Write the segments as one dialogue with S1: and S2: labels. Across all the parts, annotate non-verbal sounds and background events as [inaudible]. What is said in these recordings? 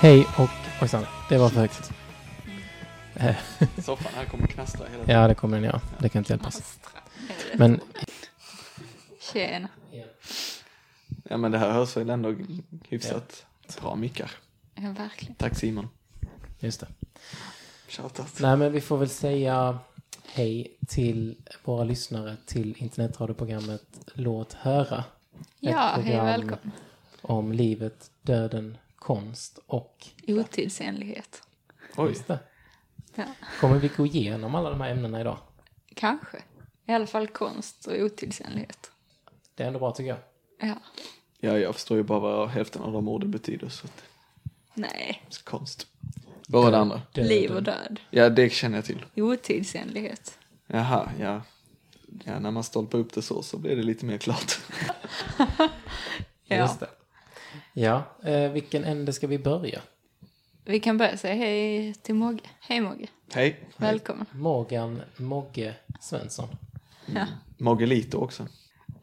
S1: Hej och... Ojsan, det var för högt. Eh,
S2: Soffan här kommer knastra hela tiden.
S1: Ja, det kommer den ja. Det kan inte hjälpas.
S3: Astra. är det.
S1: Men
S3: Tjena.
S2: Ja men det här hörs väl ändå hyfsat bra mickar.
S3: Ja, verkligen.
S2: Tack Simon.
S1: just det.
S2: Shoutout.
S1: Nej, men vi får väl säga hej till våra lyssnare till internetradioprogrammet Låt höra.
S3: Ja,
S1: Ett
S3: hej
S1: program
S3: välkommen.
S1: Om livet, döden, konst och...
S3: Otidsenlighet.
S2: Oj,
S1: Just det.
S3: Ja.
S1: Kommer vi gå igenom alla de här ämnena idag?
S3: Kanske. I alla fall konst och otidsenlighet.
S1: Det är ändå bra tycker jag.
S3: Ja.
S2: ja, jag förstår ju bara vad hälften av de orden betyder så att
S3: Nej.
S2: det är så konst. Vad var det andra?
S1: Döden.
S3: Liv och död.
S2: Ja, det känner jag till.
S3: Otidsenlighet.
S2: Jaha, ja. Ja, när man stolpar upp det så så blir det lite mer klart. [laughs]
S3: Ja.
S1: Just det. Ja, eh, vilken ände ska vi börja?
S3: Vi kan börja säga hej till Mogge. Hej Mogge.
S2: Hej.
S3: Välkommen.
S1: Morgan Mogge Svensson.
S3: Ja.
S2: Mogelito också.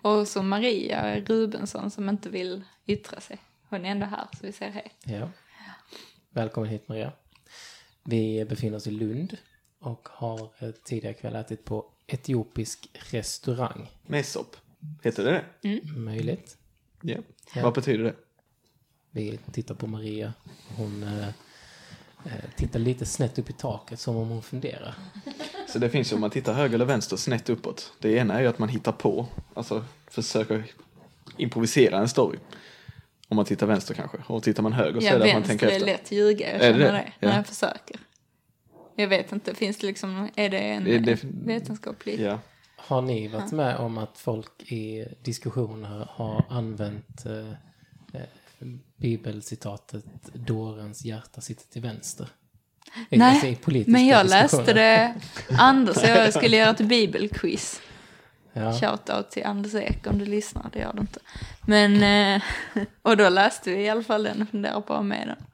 S3: Och så Maria Rubensson som inte vill yttra sig. Hon är ändå här så vi säger hej.
S1: Ja. Välkommen hit Maria. Vi befinner oss i Lund och har eh, tidigare kväll ätit på etiopisk restaurang.
S2: Mesop. Heter det det?
S1: Möjligt.
S2: Ja. Vad betyder det?
S1: Vi tittar på Maria. Hon eh, eh, tittar lite snett upp i taket som om hon funderar.
S2: Så det finns ju om man tittar höger eller vänster snett uppåt. Det ena är ju att man hittar på, alltså försöker improvisera en story. Om man tittar vänster kanske. Och tittar man höger så
S3: Ja,
S2: är det att man tänker
S3: vänster är
S2: efter.
S3: lätt ljuga, jag
S2: Är
S3: känner
S2: det?
S3: det,
S2: Ja.
S3: när jag försöker. Jag vet inte, finns det liksom, är det en
S2: Det är
S3: eh,
S2: def-
S3: vetenskaplig?
S2: Ja.
S1: Har ni varit med om att folk i diskussioner har använt eh, eh, bibelcitatet dårens hjärta sitter till vänster? I- alltså i
S3: Nej,
S1: politiska
S3: men jag
S1: diskussioner.
S3: läste det, Anders och
S1: [laughs]
S3: jag skulle göra ett bibelquiz.
S1: Ja.
S3: Shoutout till Anders Ek om du lyssnar, det gör du inte. Men, eh, [laughs] och då läste vi i alla fall den och funderade på att ha med den.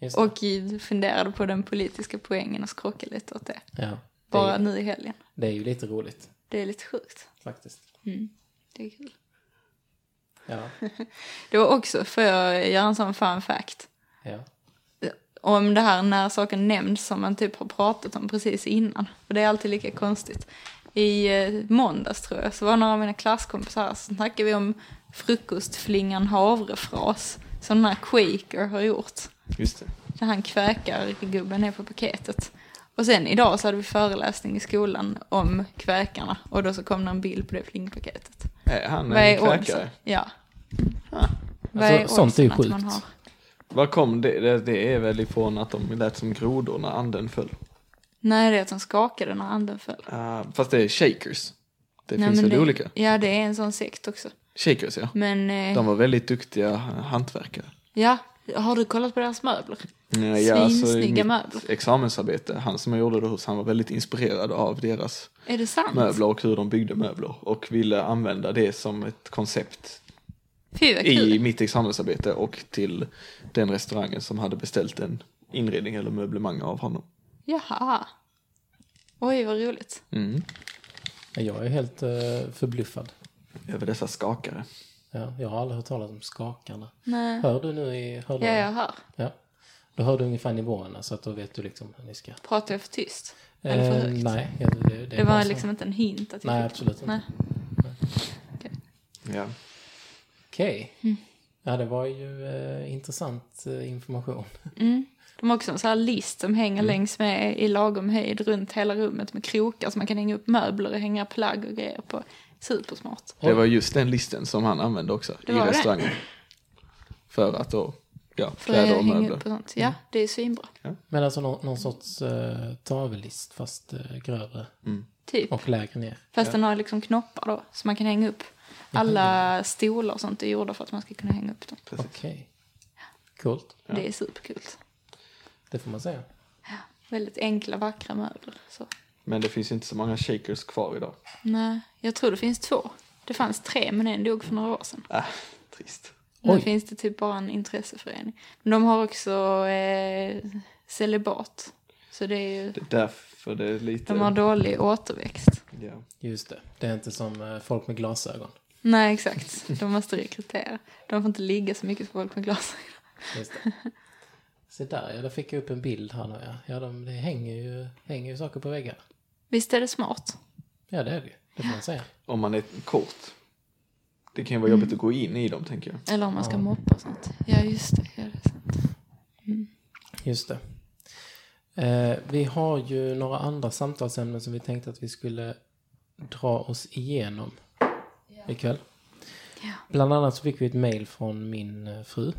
S1: Just det.
S3: Och i- funderade på den politiska poängen och skrockade lite åt det.
S1: ja. Det,
S3: Bara
S1: är,
S3: nu i helgen.
S1: det är ju lite roligt
S3: Det är lite sjukt.
S1: faktiskt.
S3: Det är kul.
S1: Ja.
S3: Det var också, för jag göra en sån fun fact?
S1: ja.
S3: om det här när saker nämns som man typ har pratat om precis innan. Och det är alltid lika konstigt. I eh, måndags tror jag så var några av mina klasskompisar så snackade vi om frukostflingan havrefras som den här Quaker har gjort.
S2: Just det.
S3: När han kväkar gubben är på paketet. Och sen idag så hade vi föreläsning i skolan om kväkarna och då så kom det en bild på det flingpaketet.
S2: Är han
S3: Vad
S2: en
S3: är oddsen?
S2: kräkare?
S3: Ja.
S2: Ah.
S3: Vad
S1: Alltså,
S3: oddsen
S1: sånt är ju
S3: att man
S1: sjukt.
S3: har-
S2: Var kom det? det? Det är väl ifrån att de lät som grodor när anden föll.
S3: Nej, det är att de skakade när anden föll.
S2: Ah, fast det är shakers. Det
S3: Nej,
S2: finns
S3: men
S2: väl olika?
S3: Ja, det är en sån sekt också.
S2: Shakers ja.
S3: Men eh,
S2: De var väldigt duktiga hantverkare.
S3: ja, har du kollat på deras möbler?
S2: Nej, ja, alltså, i
S3: Svinsnygga
S2: mitt
S3: möbler.
S2: Examensarbete, han som jag gjorde det hos, han var väldigt inspirerad av deras
S3: Är det sant?
S2: möbler och hur de byggde möbler och ville använda det som ett koncept
S3: Fy vad kul.
S2: i mitt examensarbete och till den restaurangen som hade beställt en inredning eller möblemang av honom.
S3: Jaha. Oj, vad roligt.
S2: Mm.
S1: Men Jag är helt eh, förbluffad.
S2: Över dessa skakare.
S1: Ja, jag har aldrig hört talas om skakarna.
S3: Nej.
S1: Hör du nu i
S3: Ja,
S1: hörlurarna?
S3: jag hör.
S1: ja. Då hör du ungefär nivåerna så att då vet du liksom hur ni ska...
S3: Pratar jag för tyst? Eller för
S1: Eh,
S3: högt?
S1: nej, ja, det, det, det,
S3: Det
S1: är bara
S3: var
S1: så.
S3: liksom inte en hint att jag
S1: Nej,
S3: fick-
S1: absolut inte.
S3: Nej.
S2: Ja.
S1: Okej.
S3: Mm.
S1: Ja, det var ju eh, intressant eh, information.
S3: De har också en sån här list som
S1: Mm.
S3: hänger längs med i lagom höjd runt hela rummet med krokar så man kan hänga upp möbler och hänga plagg och grejer på. Supersmart.
S2: Det var just den listen som han använde också
S3: Det
S2: i
S3: var det.
S2: restaurangen. För att då, ja,
S3: För att
S2: kläder och
S3: hänga upp
S2: möbler. Mm.
S3: på sånt. Ja, det är svinbra.
S1: Men alltså någon, någon sorts eh, tavellist fast eh, grövre
S3: Typ.
S1: och lägre ner.
S3: Fast den har liksom knoppar då, så man kan hänga upp. Alla stolar och sånt är gjorda för att man ska kunna hänga upp dem.
S2: Precis.
S1: Okej. Coolt.
S3: Det är superkul.
S1: Det får man säga.
S3: Väldigt enkla, vackra möbler. Så.
S2: Men det finns inte så många shakers kvar idag.
S3: Nej, jag tror det finns två. Det fanns tre, men en dog för några år sedan.
S2: Äh, trist.
S1: Oj.
S3: Nu finns det typ bara en intresseförening. Men de har också eh, celibat. Så det är ju,
S2: Det är därför det är lite...
S3: de har dålig återväxt.
S2: ja.
S1: Just det. Det är inte som eh, folk med glasögon.
S3: Nej, exakt. De måste rekrytera. De får inte ligga så mycket för folk med glasögon.
S1: Just det. Se där ja, där fick jag upp en bild här nu ja. Ja, de, det hänger ju, hänger ju saker på väggarna.
S3: Visst är det smart?
S1: Ja, det är det ju. Det får man säga.
S2: Om man är kort. Det kan ju vara jobbigt att gå in i dem tänker jag.
S3: Eller om man ska moppa och sånt. Ja, just det. Ja, det är sant.
S1: Just det. Eh, vi har ju några andra samtalsämnen som vi tänkte att vi skulle dra oss igenom ikväll.
S3: Ja.
S1: Bland annat så fick vi ett mail från min eh, fru.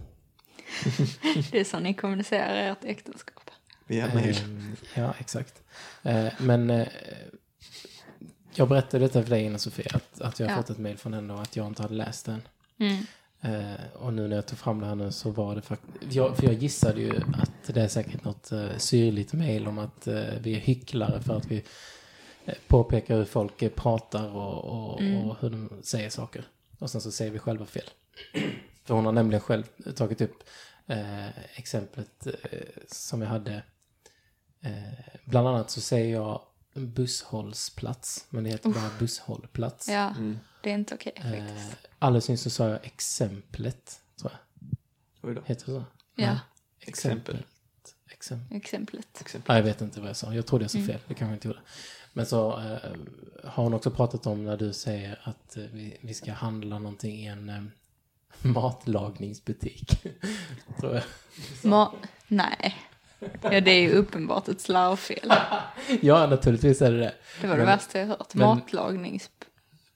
S3: Det är så ni kommunicerar ert äktenskap.
S2: Via mail.
S1: Ehm, ja, exakt. Eh, men eh, jag berättade detta för dig innan Sofia, att, att jag har
S3: Ja.
S1: fått ett mail från henne och att jag inte hade läst den.
S3: Mm.
S1: Eh, och nu när jag tog fram det här nu så var det faktiskt, jag, för jag gissade ju att det är säkert något eh, syrligt mejl om att eh, vi är hycklare för att vi eh, påpekar hur folk eh, pratar och, och, och hur de säger saker. Och sen så säger vi själva fel. [clears throat] för hon har nämligen själv tagit upp eh, exemplet eh, som jag hade. Eh, bland annat så säger jag busshållsplats, men det heter bara busshållplats.
S3: Ja,
S2: Mm.
S3: det är inte okej faktiskt.
S1: Eh, alldeles nyss så sa jag exemplet, tror jag.
S2: Oj då.
S1: Heter det så?
S3: Ja,
S2: Exempel.
S1: Exemplet. Exempel.
S3: exemplet.
S1: Nej, jag vet inte vad jag sa. Jag trodde jag sa
S3: Mm.
S1: fel. Det kanske jag inte gjorde. Men så eh, har hon också pratat om när du säger att eh, vi, vi ska handla någonting i en eh, [laughs] matlagningsbutik. [laughs] tror jag.
S3: Ma- Nej. Ja, det är ju uppenbart ett slarvfel.
S1: Ja, naturligtvis är det det.
S3: Det var det värsta jag hört.
S1: men-
S3: Matlagnings...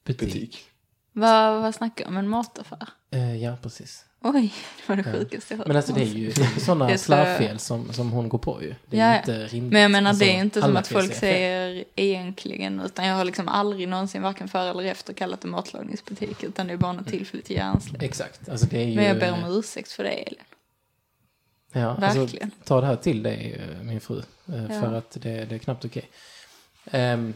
S1: Butik.
S2: Butik.
S3: Vad, vad snackar jag om? En mataffär?
S1: Eh, ja, precis.
S3: Oj, det var det sjukaste jag hört.
S1: Men alltså det är ju
S3: [laughs] Det
S1: sådana
S3: är så-
S1: slarvfel som, som hon går på ju. Det är
S3: Ja,
S1: ju
S3: ja.
S1: inte rimligt.
S3: Men jag menar
S1: Alltså,
S3: det är ju inte som
S1: alla
S3: att
S1: kan ju
S3: folk
S1: säga fel.
S3: säger egentligen utan jag har liksom aldrig någonsin varken före eller efter kallat det matlagningsbutik utan det är bara något tillfälligt hjärnsläpp.
S1: Exakt. Alltså det är ju...
S3: Men jag ber om ursäkt för det Elin.
S1: Ja,
S3: Verkligen.
S1: Alltså, ta det här till dig, eh, min fru. eh,
S3: Ja.
S1: För att det, det är knappt okej. Ehm,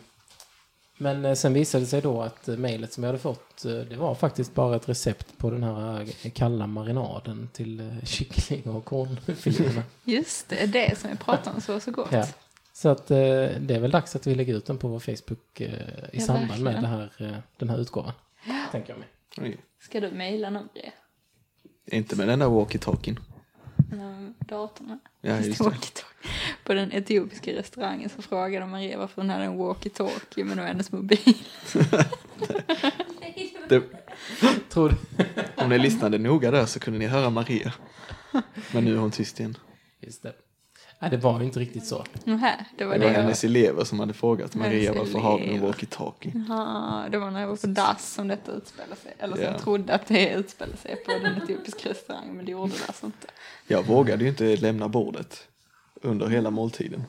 S1: men eh, sen visade det sig då att eh, mejlet som jag hade fått, eh, det var faktiskt bara ett recept på den här eh, kalla marinaden till eh, kyckling och
S3: [laughs]
S1: kornfiléerna.
S3: Just det, det som vi pratade om så var så gott.
S1: ja. Så att eh, det är väl dags att vi lägger ut den på vår Facebook eh, i
S3: Ja,
S1: samband med
S3: verkligen.
S1: det här, eh, den här utgåvan. Tänker jag mig.
S2: Oj.
S3: Ska du mejla någon det?
S2: Inte med den där walkie-talkien.
S3: Eller datorn?
S2: Ja,
S3: [laughs]
S2: just det.
S3: walkie-talkie. På den etiopiska restaurangen så frågade Maria varför hon hade en walkie-talkie men det var hennes mobil. [laughs]
S2: det.
S1: Tror du?
S2: [laughs] Om ni lyssnade noga där så kunde ni höra Maria. Men nu är hon tyst igen.
S1: Just det. Nej, det var ju inte riktigt så.
S3: Nähä, det var
S2: Det var
S3: det.
S2: hennes elever som hade frågat Maria
S3: Hennes
S2: varför har du en
S3: elever.
S2: walkie-talkie?
S3: Ja, det var när jag var på dass som detta utspelade sig. Eller som
S2: Ja.
S3: jag trodde att det utspelade sig på en etiopisk restaurang, men det gjorde det alltså inte.
S2: Jag vågade ju inte lämna bordet under hela måltiden.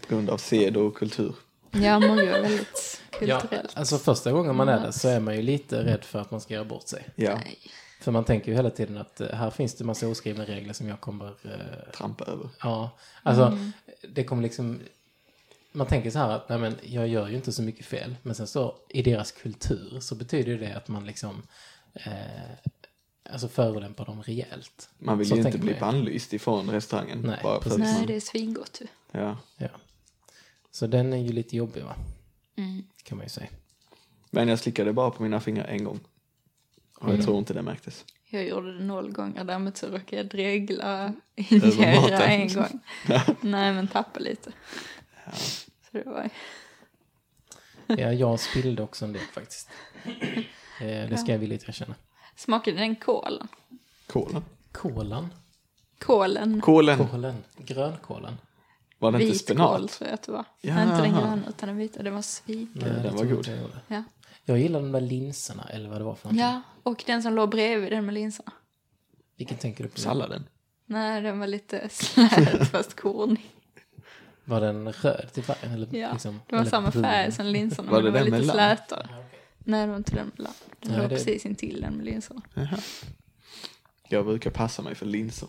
S2: På grund av sed och kultur.
S3: Ja, Mojo är väldigt kulturellt.
S1: Ja, alltså första gången man är där så är man ju lite rädd för att man ska göra bort sig.
S2: Ja,
S3: Nej.
S1: För man tänker ju hela tiden att eh, här finns det massa oskrivna regler som jag kommer... eh,
S2: trampa över.
S1: Ja, alltså
S3: Mm.
S1: det kommer liksom... Man tänker så här att nej men jag gör ju inte så mycket fel. Men sen så i deras kultur så betyder ju det att man liksom... Eh, alltså förolämpar dem rejält.
S2: Man vill
S1: Så
S2: ju inte
S1: tänker man
S2: bli bannlyst ifrån restaurangen.
S1: Nej,
S2: bara för att
S1: precis.
S3: Nej,
S2: man,
S3: det är svingott. ju.
S2: ja.
S1: Ja. Så den är ju lite jobbig va?
S3: Mm.
S1: Kan man ju säga.
S2: Men jag slickade bara på mina fingrar en gång. Och jag tror inte det märktes.
S3: Jag gjorde det noll gånger, däremot så råkade jag dregla i
S2: Mm. Över
S3: njura
S2: maten.
S3: en gång. Nej, men tappa lite. Så det var
S1: Ja, jag spillde också en del faktiskt. Eh, det ska jag villigt erkänna.
S3: Smakade den kålen?
S2: Kolen.
S1: Kolan.
S3: Kålen?
S2: Kolen.
S1: Kålen. Grönkålen.
S2: Var det inte
S3: Vit kål
S2: spenat?
S3: tror jag att det var.
S2: Ja. Mm,
S3: Nej, inte den gröna utan den vita. Den var svin.
S1: Nej,
S2: den
S1: det
S2: var
S1: tror jag
S2: god.
S1: inte jag gjorde.
S3: Ja.
S1: Jag gillar de där linserna, eller vad det var för någonting.
S3: ja, och den som låg bredvid den med linserna.
S1: Vilken tänker du på? nu?
S2: Salladen.
S3: Nej, den var
S2: [laughs]
S3: lite slät fast kornig.
S1: Var den röd till färgen? Eller,
S3: Ja,
S1: liksom,
S3: det var
S1: eller
S3: samma
S1: brun?
S3: färg som linserna
S2: Var
S3: men
S2: det
S3: den var
S2: den
S3: lite
S2: med lamm?
S3: slätare. Nej, det var inte den med lamm. Den
S1: Nej,
S3: låg
S1: det-
S3: precis intill den med linserna.
S2: Jaha. Jag brukar passa mig för linser.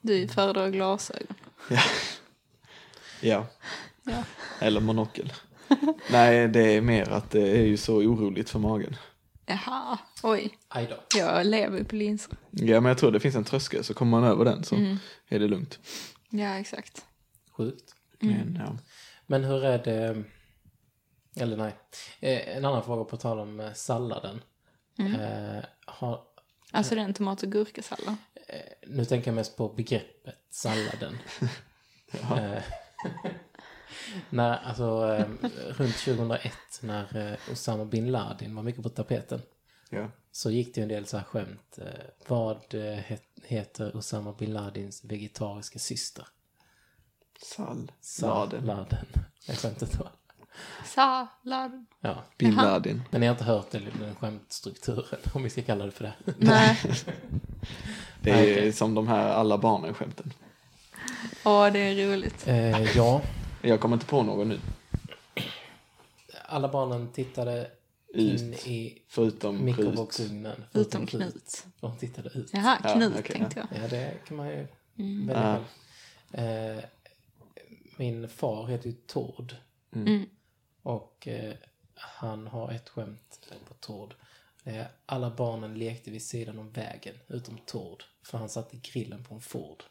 S3: Du föredrar glasögon.
S2: Ja. ja.
S3: Ja.
S2: Eller monokel. Nej, det är mer att det är ju så oroligt för magen.
S3: Jaha, oj.
S1: Aj då.
S3: Jag lever ju på linser.
S2: Ja, men jag tror det finns en tröskel, så kommer man över den så
S3: Mm.
S2: är det lugnt.
S3: Ja, exakt.
S1: Sjukt.
S3: Mm.
S2: Men, ja.
S1: Men hur är det... Eller
S3: Mm.
S1: nej. Eh, En annan fråga på tal om eh, salladen. Eh, har, eh,
S3: Alltså den tomat och gurkasallad.
S1: Nu tänker jag mest på begreppet
S3: [laughs]
S1: salladen. Eh, när, alltså, eh, runt 2001 när eh, Osama bin Laden var mycket på tapeten
S2: Ja.
S1: så gick det ju en del så här skämt. eh, Vad eh, het- heter Osama bin Ladins vegetariska syster?
S2: Sall. Laden.
S1: Salladen. Är skämtet då?
S3: Sallad.
S1: Ja.
S2: Bin Laden.
S1: Men ni har inte hört den, den skämtstrukturen, om vi ska kalla det för det.
S3: [laughs] Nej.
S2: Det är
S1: Okej.
S2: som de här alla barnen-skämten.
S3: Åh, det är roligt.
S1: Eh, ja,
S2: Jag kommer inte på någon nu.
S1: alla barnen tittade in
S2: Ut.
S1: i
S2: Förutom Rut.
S1: mikrovågsugnen.
S3: Utom
S1: Knut.
S3: Knut.
S1: För hon tittade ut.
S3: Jaha,
S2: Ja,
S3: Knut
S2: okej,
S3: tänkte jag.
S1: Ja, det kan man ju
S3: Mm.
S1: välja
S2: Ja.
S1: själv. Eh, min far heter ju Tord.
S3: Mm.
S1: Och eh, han har ett skämt på Tord. Eh, alla barnen lekte vid sidan om vägen, utom Tord. För han satte grillen på en Ford.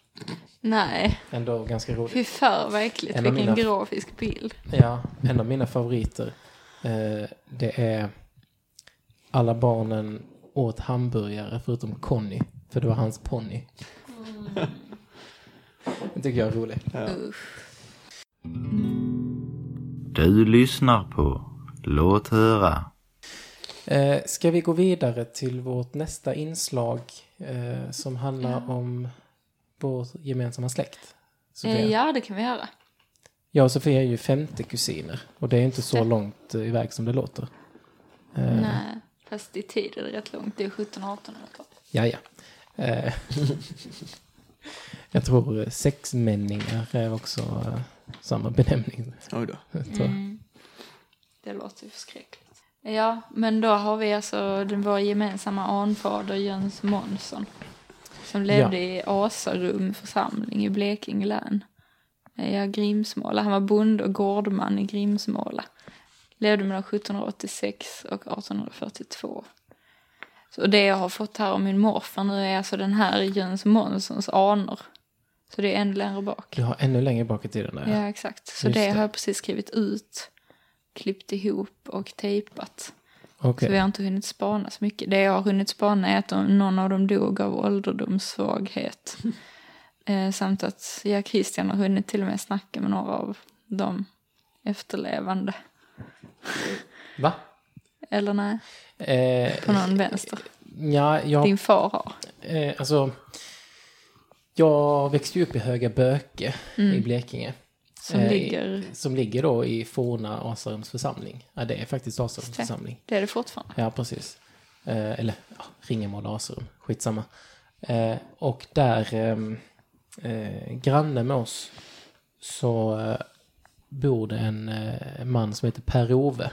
S3: Nej,
S1: Ändå ganska roligt.
S3: fy för verkligt.
S1: En av
S3: Vilken
S1: mina-
S3: grafisk bild.
S1: Ja, en av mina favoriter. Eh, det är alla barnen åt hamburgare förutom Conny. För det var hans ponny. Det tycker jag är roligt.
S4: Du lyssnar på Låt höra.
S1: Eh, ska vi gå vidare till vårt nästa inslag eh, som handlar om vår gemensamma släkt? Sofia.
S3: Eh, Ja, det kan vi göra.
S1: Jag och Sofia är ju femte kusiner och det är inte så
S3: Det.
S1: långt eh, iväg som det låter.
S3: Nej, fast i tid är det rätt långt. Det är 17-18 år kvar.
S1: Ja, ja. Eh, [laughs] jag tror eh, sexmänningar är också eh, samma [laughs] benämning.
S2: Oj då.
S1: tror jag.
S3: Mm. Det låter ju förskräckligt. Ja, men då har vi alltså den, vår gemensamma anfader Jöns Månsson. Som levde i Asarum församling i Blekinge län. Eh, Ja, Grimsmåla. Han var bonde och gårdman i Grimsmåla. Levde mellan 1786 och 1842. Så det jag har fått här om min morfar nu är alltså den här Jöns Månssons anor. Så det är ännu längre bak.
S1: Du har ännu längre bak i tiden där.
S3: Ja, exakt. Så
S1: Just
S3: det,
S1: det.
S3: har jag precis skrivit ut, klippt ihop och tejpat.
S1: Okej.
S3: Så vi har inte hunnit spana så mycket. Det jag har hunnit spana är att de, någon av dem dog av
S1: [laughs]
S3: ålderdomssvaghet. eh, samt att jag Christian har hunnit till och med snacka med några av de efterlevande.
S1: Va?
S3: Eller nej,
S1: Eh,
S3: på någon vänster.
S1: ja, jag,
S3: Din far har.
S1: eh, alltså, jag växte ju upp i Höga Böke i
S3: Mm.
S1: Blekinge.
S3: Som
S1: Eh,
S3: ligger...
S1: Som ligger då i forna Asarums församling. Ja, det är faktiskt Asarums församling.
S3: Det är det fortfarande.
S1: Ja, precis. Eh, eller ja, Ringemål och Asrum, skitsamma. Eh, och där, ehm, eh, granne med oss, så eh, bor det en eh, man som heter Per-Ove.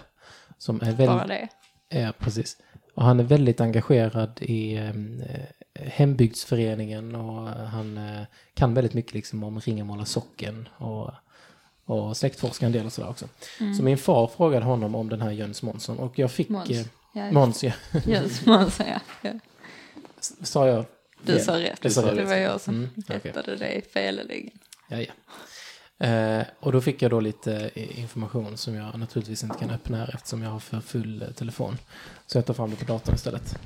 S1: Som är
S3: Bara
S1: väldigt,
S3: det.
S1: ja, precis. Och han är väldigt engagerad i ehm, eh, hembygdsföreningen och eh, han eh, kan väldigt mycket liksom om Ringemåla socken och, och släktforskar en del och sådär också. Så min far frågade honom om den här Jöns Månsson och jag fick...
S3: Måns.
S1: eh,
S3: Ja, [laughs]
S1: Måns, ja.
S3: Jöns Månsson, ja. ja.
S1: Sa jag?
S3: Du sa rätt.
S1: Du sa rätt.
S3: Det var jag som
S1: Mm, okej.
S3: rättade dig feleligen.
S1: Ja, ja. Eh, och då fick jag då lite i- information som jag naturligtvis inte kan öppna här eftersom jag har för full eh, telefon. Så jag tar fram det på datorn istället.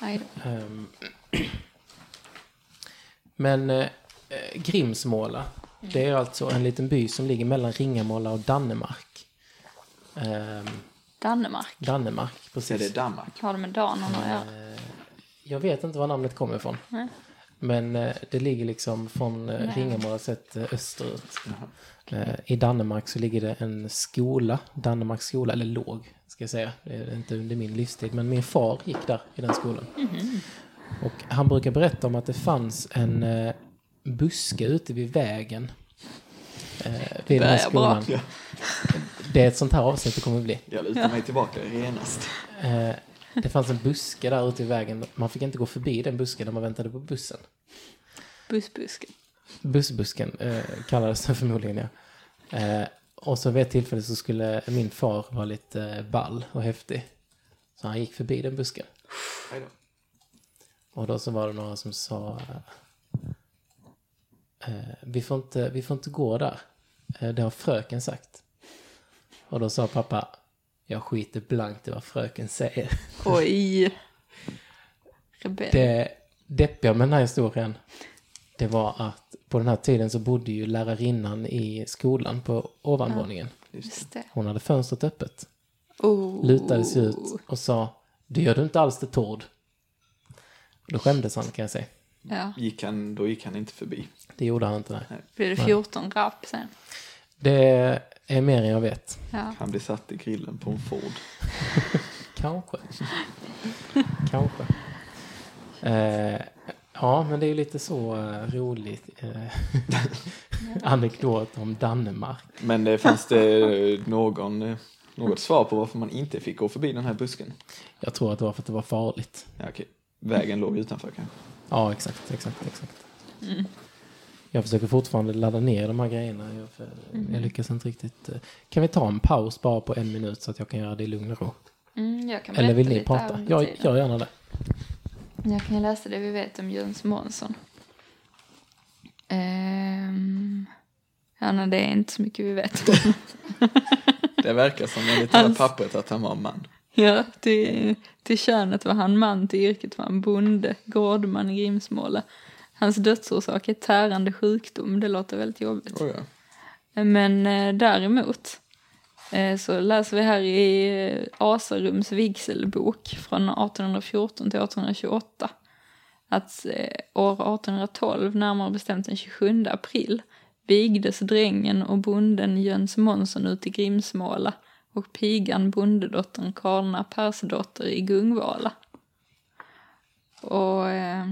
S3: Nej,
S1: Ehm. [clears throat] Men eh, eh, Grimsmåla, det är alltså en liten by som ligger mellan Ringamåla och Dannemark. Ehm,
S3: Danmark.
S1: Dannemark,
S2: Så
S1: precis.
S2: det är Danmark.
S3: Har det med danerna att
S1: Mm.
S3: göra?
S1: Eh, Jag vet inte var namnet kommer ifrån.
S3: Nej.
S1: Men eh, det ligger liksom från eh, Ringamåla sett eh, österut. Eh, I Danmark så ligger det en skola, Danmarks skola, eller låg ska jag säga. Det är inte under min livstid, men min far gick där i den skolan.
S3: Mhm.
S1: Och han brukar berätta om att det fanns en eh, buske ute vid vägen. Eh, vid den här
S3: börjar bra.
S1: skolan. Det är ett sånt här avsnitt det kommer bli.
S2: Jag lutar mig tillbaka genast.
S1: Eh, det fanns en buske där ute i vägen. Man fick inte gå förbi den busken när man väntade på bussen.
S3: Bussbusken.
S1: Bussbusken eh, kallades den förmodligen, ja. Eh, och så vid ett tillfälle så skulle min far vara lite eh, ball och häftig. Så han gick förbi den busken.
S2: Hej då.
S1: Och då så var det några som sa eh, eh, vi, får inte, vi får inte gå där. Eh, det har fröken sagt. Och då sa pappa jag skiter blankt i vad fröken säger.
S3: Oj. Rebell.
S1: Det deppiga med den här historien, det var att på den här tiden så bodde ju lärarinnan i skolan på ovanvåningen.
S3: Just det.
S1: Hon hade fönstret öppet,
S3: Oh.
S1: lutade sig ut och sa det gör du inte alls det Tord. Då skämdes han kan jag säga.
S3: Ja.
S2: Gick han, då gick han inte förbi.
S1: Det gjorde han inte. Nej.
S3: Blir det 14 rapp sen?
S1: Det är mer än jag vet.
S3: Ja.
S2: Han blev satt i grillen på en Ford.
S1: Kanske. [laughs] Kanske. Eh, ja, men det är ju lite så eh, roligt eh, [laughs] anekdot om Danmark.
S2: Men det fanns det någon, eh, något svar på varför man inte fick gå förbi den här busken?
S1: Jag tror att det var för att det var farligt.
S2: Ja, okej. Vägen låg utanför kanske.
S1: Ja, exakt, exakt, exakt.
S3: Mm.
S1: Jag försöker fortfarande ladda ner de här grejerna. Jag, för,
S3: Mm.
S1: jag lyckas inte riktigt. eh. Kan vi ta en paus bara på en minut så att jag kan göra det i lugn och ro?
S3: Mm, jag kan
S1: Eller vill
S3: berätta
S1: ni
S3: lite här
S1: prata?
S3: under
S1: Jag
S3: tiden.
S1: gör gärna det.
S3: Jag kan ju läsa det vi vet om Jöns Månsson. Ehm, ja, nej, det är inte så mycket vi vet.
S1: [laughs]
S2: Det verkar som enligt det här pappret att han var en man.
S3: [laughs] ja, till, till könet var han man, till yrket var han bonde, gårdman i Grimsmåla. Hans dödsorsak är tärande sjukdom, det låter väldigt jobbigt.
S2: Oh, ja.
S3: Men eh, däremot eh, så läser vi här i eh, Asarums vigselbok från 1814 till 1828 att eh, år 1812, närmare bestämt den 27 april, vigdes drängen och bonden Jöns Månsson ut i Grimsmåla och pigan bondedottern Karna Persdotter i Gungvala. Och eh,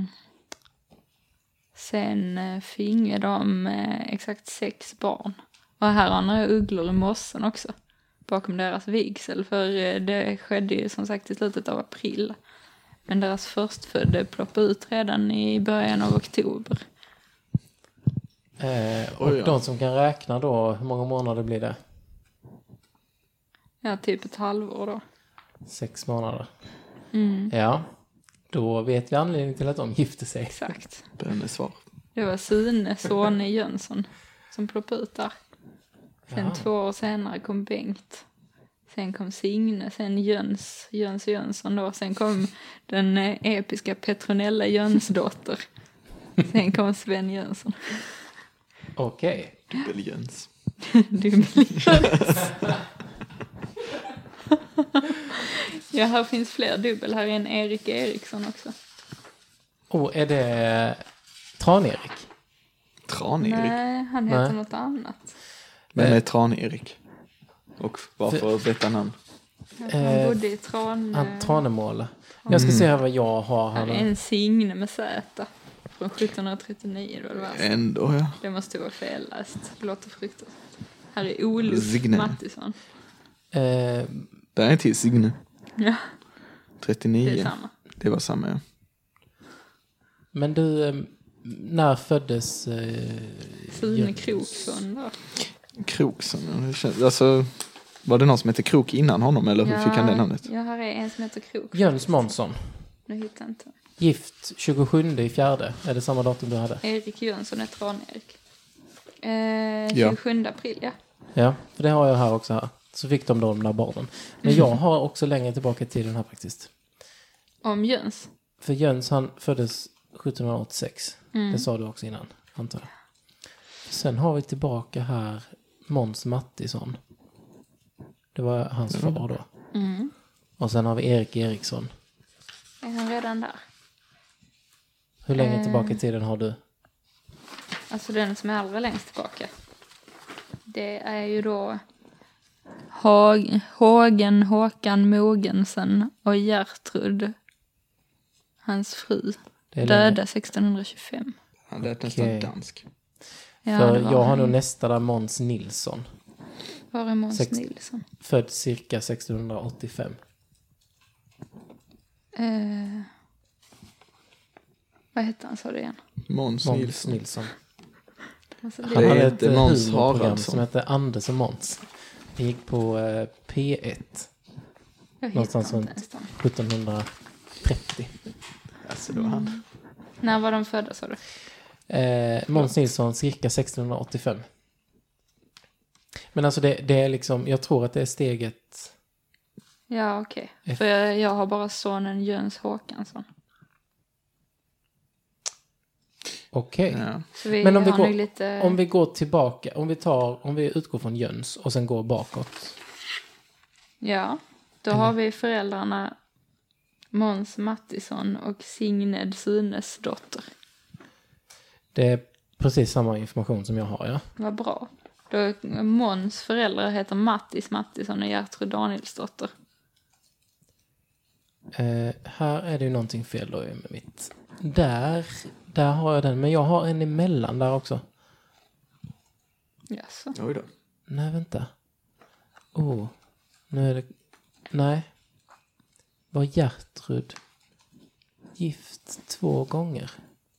S3: sen eh, finge de eh, exakt sex barn. Och här har några ugglor i mossen också. Bakom deras vigsel. För eh, det skedde ju som sagt i slutet av april. Men deras förstfödde ploppade ut redan i början av oktober.
S1: Eh, och
S2: Oj, ja.
S1: de som kan räkna då, hur många månader blir det?
S3: Ja, typ ett halvår då.
S1: Sex månader.
S3: Mm.
S1: Ja, då vet vi anledningen till att de gifte sig.
S3: Exakt.
S2: Bönnes svar.
S3: Det var Sune, Sone Jönsson som ploppade ut där. Sen två år senare kom Bengt. Sen kom Signe, sen Jöns, Jöns Jönsson då. Sen kom den eh, episka Petronella Jönsdotter. Sen kom Sven Jönsson. [laughs]
S1: Okej.
S2: Dubbeljöns.
S3: Dubbeljöns. [laughs] ja, här finns fler dubbel. Här är en Erik Eriksson också.
S1: Och är det Tran-Erik?
S2: Tran-Erik.
S3: Nej, han heter
S1: Nej.
S3: något annat.
S2: Vem är Tran-Erik? Och varför detta namn?
S3: Jag tror Han
S1: Eh,
S3: bodde i Tran...
S1: Han Tranemåla. Jag
S2: Mm.
S1: ska se här vad jag har
S3: Här
S1: här
S3: är
S1: nu.
S3: en Signe med Z. Från 1739 då, det var alltså.
S2: Ändå ja.
S3: Det måste vara felläst. Det låter fruktansvärt. Här är Olof
S2: Signe.
S3: Mattisson.
S1: Eh,
S2: Där är en till Signe.
S3: Ja, det
S2: 39.
S3: är samma.
S2: Det var samma ja.
S1: men du, eh, när föddes... Eh,
S3: Sune
S1: Jöns?
S3: Kroksson då.
S2: Krokson. ja, det känns- Alltså, var det någon som hette Krok innan honom eller hur fick han det namnet?
S3: Ja, här är en som heter Krok.
S1: Jöns Månsson.
S3: Nu hittar jag inte.
S1: Gift 27 i fjärde. Är det samma datum du hade?
S3: Erik Jönsson är Tran-Erik. Eh,
S2: Ja.
S3: 27 april, ja.
S1: Ja, för det har jag här också. Här. Så fick de då de där barnen. Men jag har också längre tillbaka i tiden här faktiskt.
S3: Om Jöns.
S1: För Jöns han föddes 1786. Det sa du också innan, antar jag. Sen har vi tillbaka här Måns Mattisson. Det var hans far då. Och sen har vi Erik Eriksson.
S3: Är han redan där?
S1: Hur länge tillbaka i tiden har du?
S3: Alltså den som är allra längst tillbaka. Det är ju då Hag- Hågen Håkan Mogensen och Gertrud, hans fru,
S1: Det är
S3: döda
S1: länge.
S3: 1625.
S2: Han lät
S1: Okej.
S2: nästan dansk.
S3: Ja,
S1: För
S3: det var
S1: jag har
S3: han.
S1: nog nästa där Måns Nilsson.
S3: Var är Måns
S1: Sext-
S3: Nilsson?
S1: Född cirka 1685.
S3: Eh, vad hette han, sa du igen?
S2: Måns
S1: Måns
S2: Nilsson.
S1: Nilsson.
S3: Alltså,
S1: Han
S3: det,
S2: Det
S1: hade ett
S2: heter Måns
S1: eh, humorprogram
S2: Haraldsson.
S1: som hette Anders och Måns. Det gick på eh, P1
S3: jag hittar
S1: någonstans
S3: inte
S1: runt
S3: ens dem.
S1: 1730.
S2: Alltså det var han.
S3: När var de födda, sa du?
S1: Eh, Måns Nilsson cirka 1685. Men alltså det, det är liksom, jag tror att det är steget,
S3: Ja, okej. För jag, jag har bara sonen Jöns Håkansson.
S1: Okej.
S2: Ja.
S3: Så vi
S1: Men om vi,
S3: har
S1: går,
S3: nog lite...
S1: om vi går tillbaka, om vi, tar, om vi utgår från Jöns och sen går bakåt.
S3: Ja, då har vi föräldrarna Måns Mattisson och Signed Sunes dotter.
S1: Det är precis samma information som jag har, ja.
S3: Vad bra. Då Måns föräldrar heter Mattis Mattisson och Gertrud Danielsdotter.
S1: Eh, här är det ju någonting fel då med mitt. Där, där har jag den, men jag har en emellan där också.
S3: Jaså?
S2: Oj då.
S1: Nej, vänta. Oh, nu är det... Nej. Var Gertrud gift två gånger?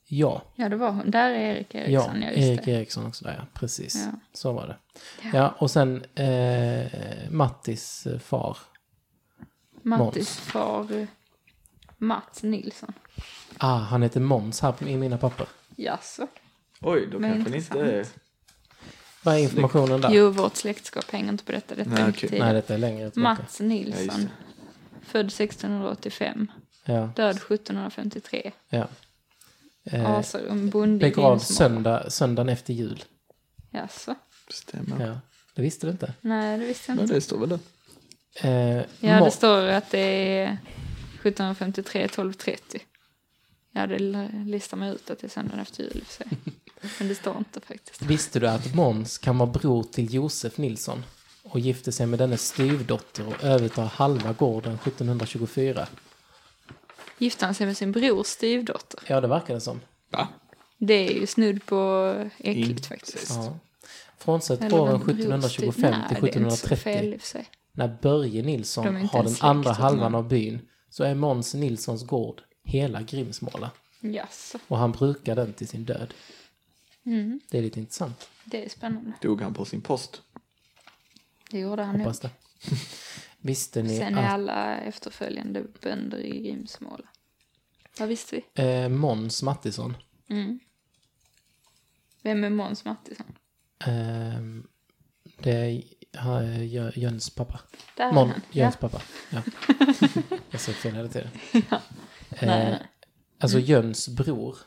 S1: Ja.
S3: Ja, det var hon. Där är Erik
S1: Ja,
S3: Eriksson, ja, just
S1: Erik
S3: det.
S1: Eriksson också där, ja. Precis.
S3: Ja.
S1: Så var det. Ja, och sen eh, Mattis eh, far.
S3: Mattis far eh, Mats Nilsson.
S1: Ah, han heter Måns här i mina papper.
S3: Jaså?
S2: Oj, då
S3: Men
S2: kanske ni inte...
S3: intressant.
S1: Vad är informationen där?
S3: Jo, vårt släktskap hänger inte på detta. Detta
S2: Nej,
S3: är
S2: okej.
S3: mycket
S1: Nej,
S3: tidigare.
S1: detta är längre tillbaka.
S3: Mats
S2: Ja, just
S3: Nilsson.
S2: det.
S3: född 1685.
S1: Ja,
S3: Död 1753.
S1: ja. Eh,
S3: Asarum, bonde i
S1: begravd
S3: Grimsmark.
S1: söndag, söndagen efter jul.
S3: Jaså?
S2: Stämmer.
S1: Ja, det visste du inte.
S3: Nej, det visste jag
S2: Men
S3: inte.
S2: det står väl där.
S1: Eh,
S3: Ja,
S1: Må-
S3: det står att det är 1753, 1230. Ja, det l- listar mig ut att det är söndagen efter jul
S1: [laughs]
S3: i och för sig. Men det står inte faktiskt.
S1: Visste du att Måns kan vara bror till Josef Nilsson och gifte sig med dennes styvdotter och övertar halva gården 1724?
S3: Gifte han sig med sin brors styvdotter?
S1: Ja, det verkar det som.
S2: Va?
S3: Det är ju snudd på äckligt
S2: Incest.
S3: faktiskt.
S1: Ja. Frånsett
S3: Eller
S1: åren
S3: vad brors styv-
S1: 1725 till
S3: Nej, det är inte så
S1: 1730
S3: fel i och för sig.
S1: när Börje
S3: De är
S1: Nilsson
S3: inte
S1: har den
S3: ens
S1: andra
S3: släkt, liksom.
S1: halvan av byn så är Måns Nilssons gård hela Grimsmåla
S3: Jaså,
S1: och han brukar den till sin död.
S3: Mm.
S1: Det är lite intressant.
S3: det är spännande.
S2: Dog han på sin post?
S3: Det gjorde han nog.
S1: Hoppas det. [laughs] Visste ni
S3: Sen är
S1: att
S3: alla efterföljande bönder i Grimsmåla. Vad visste vi? Mm.
S1: eh, Måns Mattisson
S3: Vem är Måns Mattisson?
S1: Ehm, det är ha- Jö- Jöns pappa.
S3: Där är
S1: Mon,
S3: han.
S1: Jöns pappa.
S3: [laughs]
S1: Ja. Jag säger fel hela tiden. Eh,
S3: Nej, Mm. nej.
S1: Alltså Jöns bror.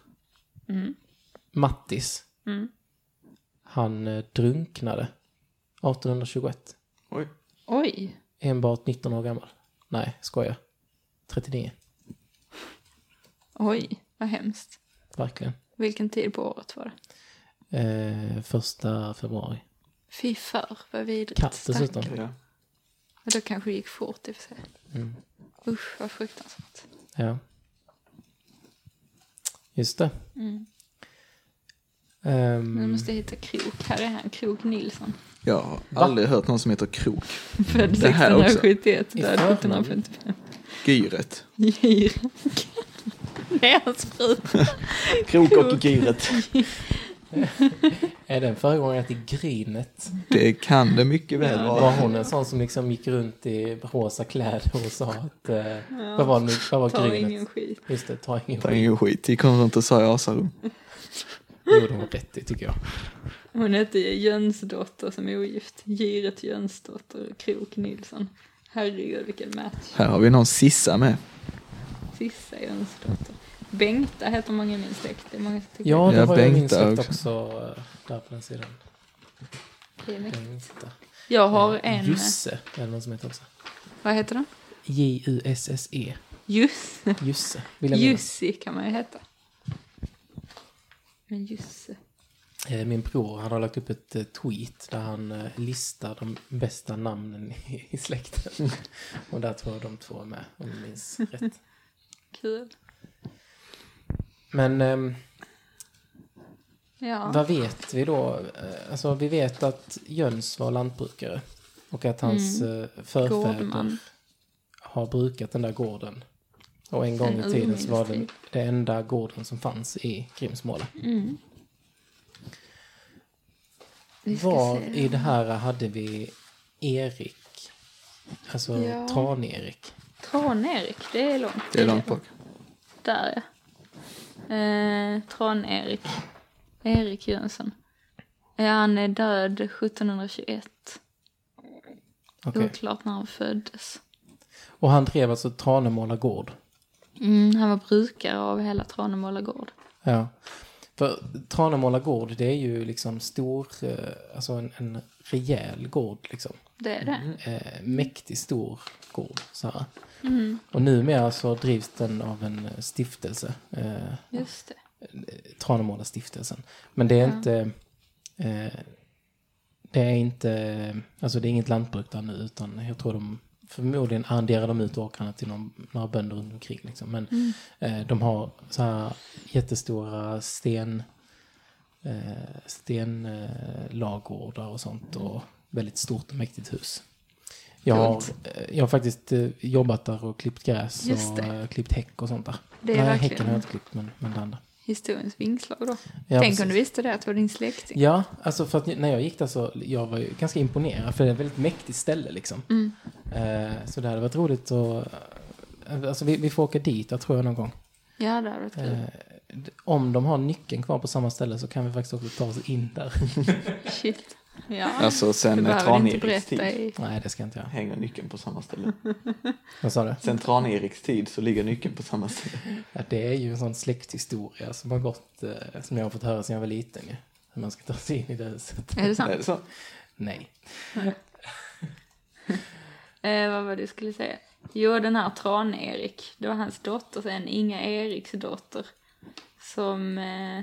S1: Mattis.
S3: Mm.
S1: Han eh, drunknade 1821.
S2: Oj.
S3: Oj,
S1: Enbart 19 år gammal. Nej, skojar. 39.
S3: oj, vad hemskt.
S1: Verkligen.
S3: Vilken tid på året var det?
S1: Eh, första februari.
S3: Fy för, vad vidrigt.
S1: Katt dessutom.
S3: Stackarn.
S2: Ja.
S3: Men då kanske det gick fort i och för sig.
S1: Mm.
S3: Usch, vad fruktansvärt.
S1: Ja. Just det. Ehm,
S3: Mm. Nu måste jag hitta Krok. Här är han,
S1: [laughs]
S3: Krok Nilsson.
S2: Jag har aldrig hört någon som heter Krok.
S3: Född
S2: Det här också.
S3: 1671,
S1: I
S3: död
S1: förnamn.
S3: [laughs] 1755.
S2: Gyret.
S3: Girek. Det är hans fru.
S2: Krok och Gyret.
S1: Är den föregångaren till Grinet?
S2: Det kan det mycket väl
S1: Var
S2: vara.
S1: hon en sån som liksom gick runt i rosa kläder och sa att... Eh, vad var, det nu- vad var
S3: Tar
S1: Grinet?
S3: ingen skit.
S1: Just det, ta ingen
S2: Ta
S1: skit.
S2: ingen skit. Gick hon runt och sa i Asarum.
S1: Det gjorde hon rätt i tycker jag.
S3: Hon hette Jönsdotter som är ogift. Giret Jönsdotter och Krok Nilsson. Herregud vilken match.
S2: Här har vi någon Sissa med.
S3: Sissa Jönsdotter. Bengta heter många i min släkt. Det är många som tycker
S1: Ja, det
S2: Ja,
S1: var ju min
S2: Bengta
S1: släkt
S2: också.
S1: också. eh, där på den sidan.
S3: det är mäktigt.
S1: Bengta.
S3: Jag har en...
S1: Jusse är det någon som heter också.
S3: Vad heter den?
S1: J-U-S-S-E.
S3: Juss.
S1: E. Jusse. Vill jag minnas.
S3: Jussi kan man ju heta. Men Jusse.
S1: Eh, Min bror, han har lagt upp ett eh, tweet där han eh, listar de bästa namnen i- i släkten.
S3: [laughs]
S1: Och där tror jag de två är med, om jag minns rätt.
S3: Kul.
S1: Men ehm,
S3: Ja.
S1: vad vet vi då? Eh, Alltså vi vet att Jöns var lantbrukare och att hans eh, förfäder
S3: Mm. Gårdman.
S1: har brukat den där gården. Och en gång
S3: Sen
S1: i tiden så var det
S3: urminnes
S1: den enda gården som fanns i Grimsmåla.
S3: Mm, Vi ska
S1: Var
S3: se.
S1: i det här hade vi Erik? Alltså
S3: Ja.
S1: Tran-Erik.
S3: Tran-Erik, det är långt.
S2: Det är långt bak.
S3: Där ja. Eh, Tran-Erik. Erik Jönsson. Ja, han är död 1721.
S1: Okej.
S3: Oklart när han föddes.
S1: Och han drev alltså Tranemåla gård.
S3: Mm, han var brukare av hela Tranemåla gård.
S1: Ja. För Tranemåla gård, det är ju liksom stor, eh, alltså en, en rejäl gård liksom.
S3: Det är det.
S1: Eh, mäktig stor gård så här. Och numera så drivs den av en eh, stiftelse. Eh,
S3: Just det.
S1: Tranemålarstiftelsen. Men det är inte... Eh, det är inte... Alltså det är inget lantbruk där nu utan jag tror de förmodligen arrenderar de ut åkrarna till någon, några bönder runt omkring. Liksom. Men
S3: Mm.
S1: eh, de har så här jättestora sten eh, stenlagårdar och sånt och väldigt stort och mäktigt hus. Jag har, eh, jag har faktiskt eh, jobbat där och klippt gräs
S3: Just
S1: och
S3: det.
S1: eh, klippt häck och sånt där.
S3: Det är
S1: Nej,
S3: verkligen-
S1: häcken har jag inte klippt men, men det andra.
S3: Historiens vingslag då.
S1: Ja,
S3: Tänk
S1: precis.
S3: om du visste det, att det var din släkting.
S1: Ja, alltså för att när jag gick där så jag var ju ganska imponerad för det är ett väldigt mäktigt ställe liksom.
S3: Mm.
S1: Eh, så det hade varit roligt att... eh, Alltså vi, vi får åka dit, jag tror jag någon gång.
S3: Ja, det hade varit kul.
S1: Eh, d- om de har nyckeln kvar på samma ställe så kan vi faktiskt också ta oss in där. [laughs]
S3: Shit. Ja.
S2: Alltså
S3: du
S2: sen eh,
S3: behöver inte
S2: Tran-Eriks
S3: berätta
S2: tid
S3: i...
S1: Nej, det ska jag inte göra.
S2: hänger nyckeln på samma ställe.
S1: Vad sa du?
S2: Sen Tran-Eriks tid så ligger nyckeln på samma ställe.
S1: Ja, det är ju en sån släkthistoria som har gått, eh, som jag har fått höra sedan jag var liten ju. Hur man ska ta sig in i det huset.
S3: Är det sant?
S2: Är det så?
S1: Nej.
S3: Eh, vad var det du skulle säga? Jo, den här Tran-Erik. Det var hans dotter sen, Inga Eriks dotter. Som eh,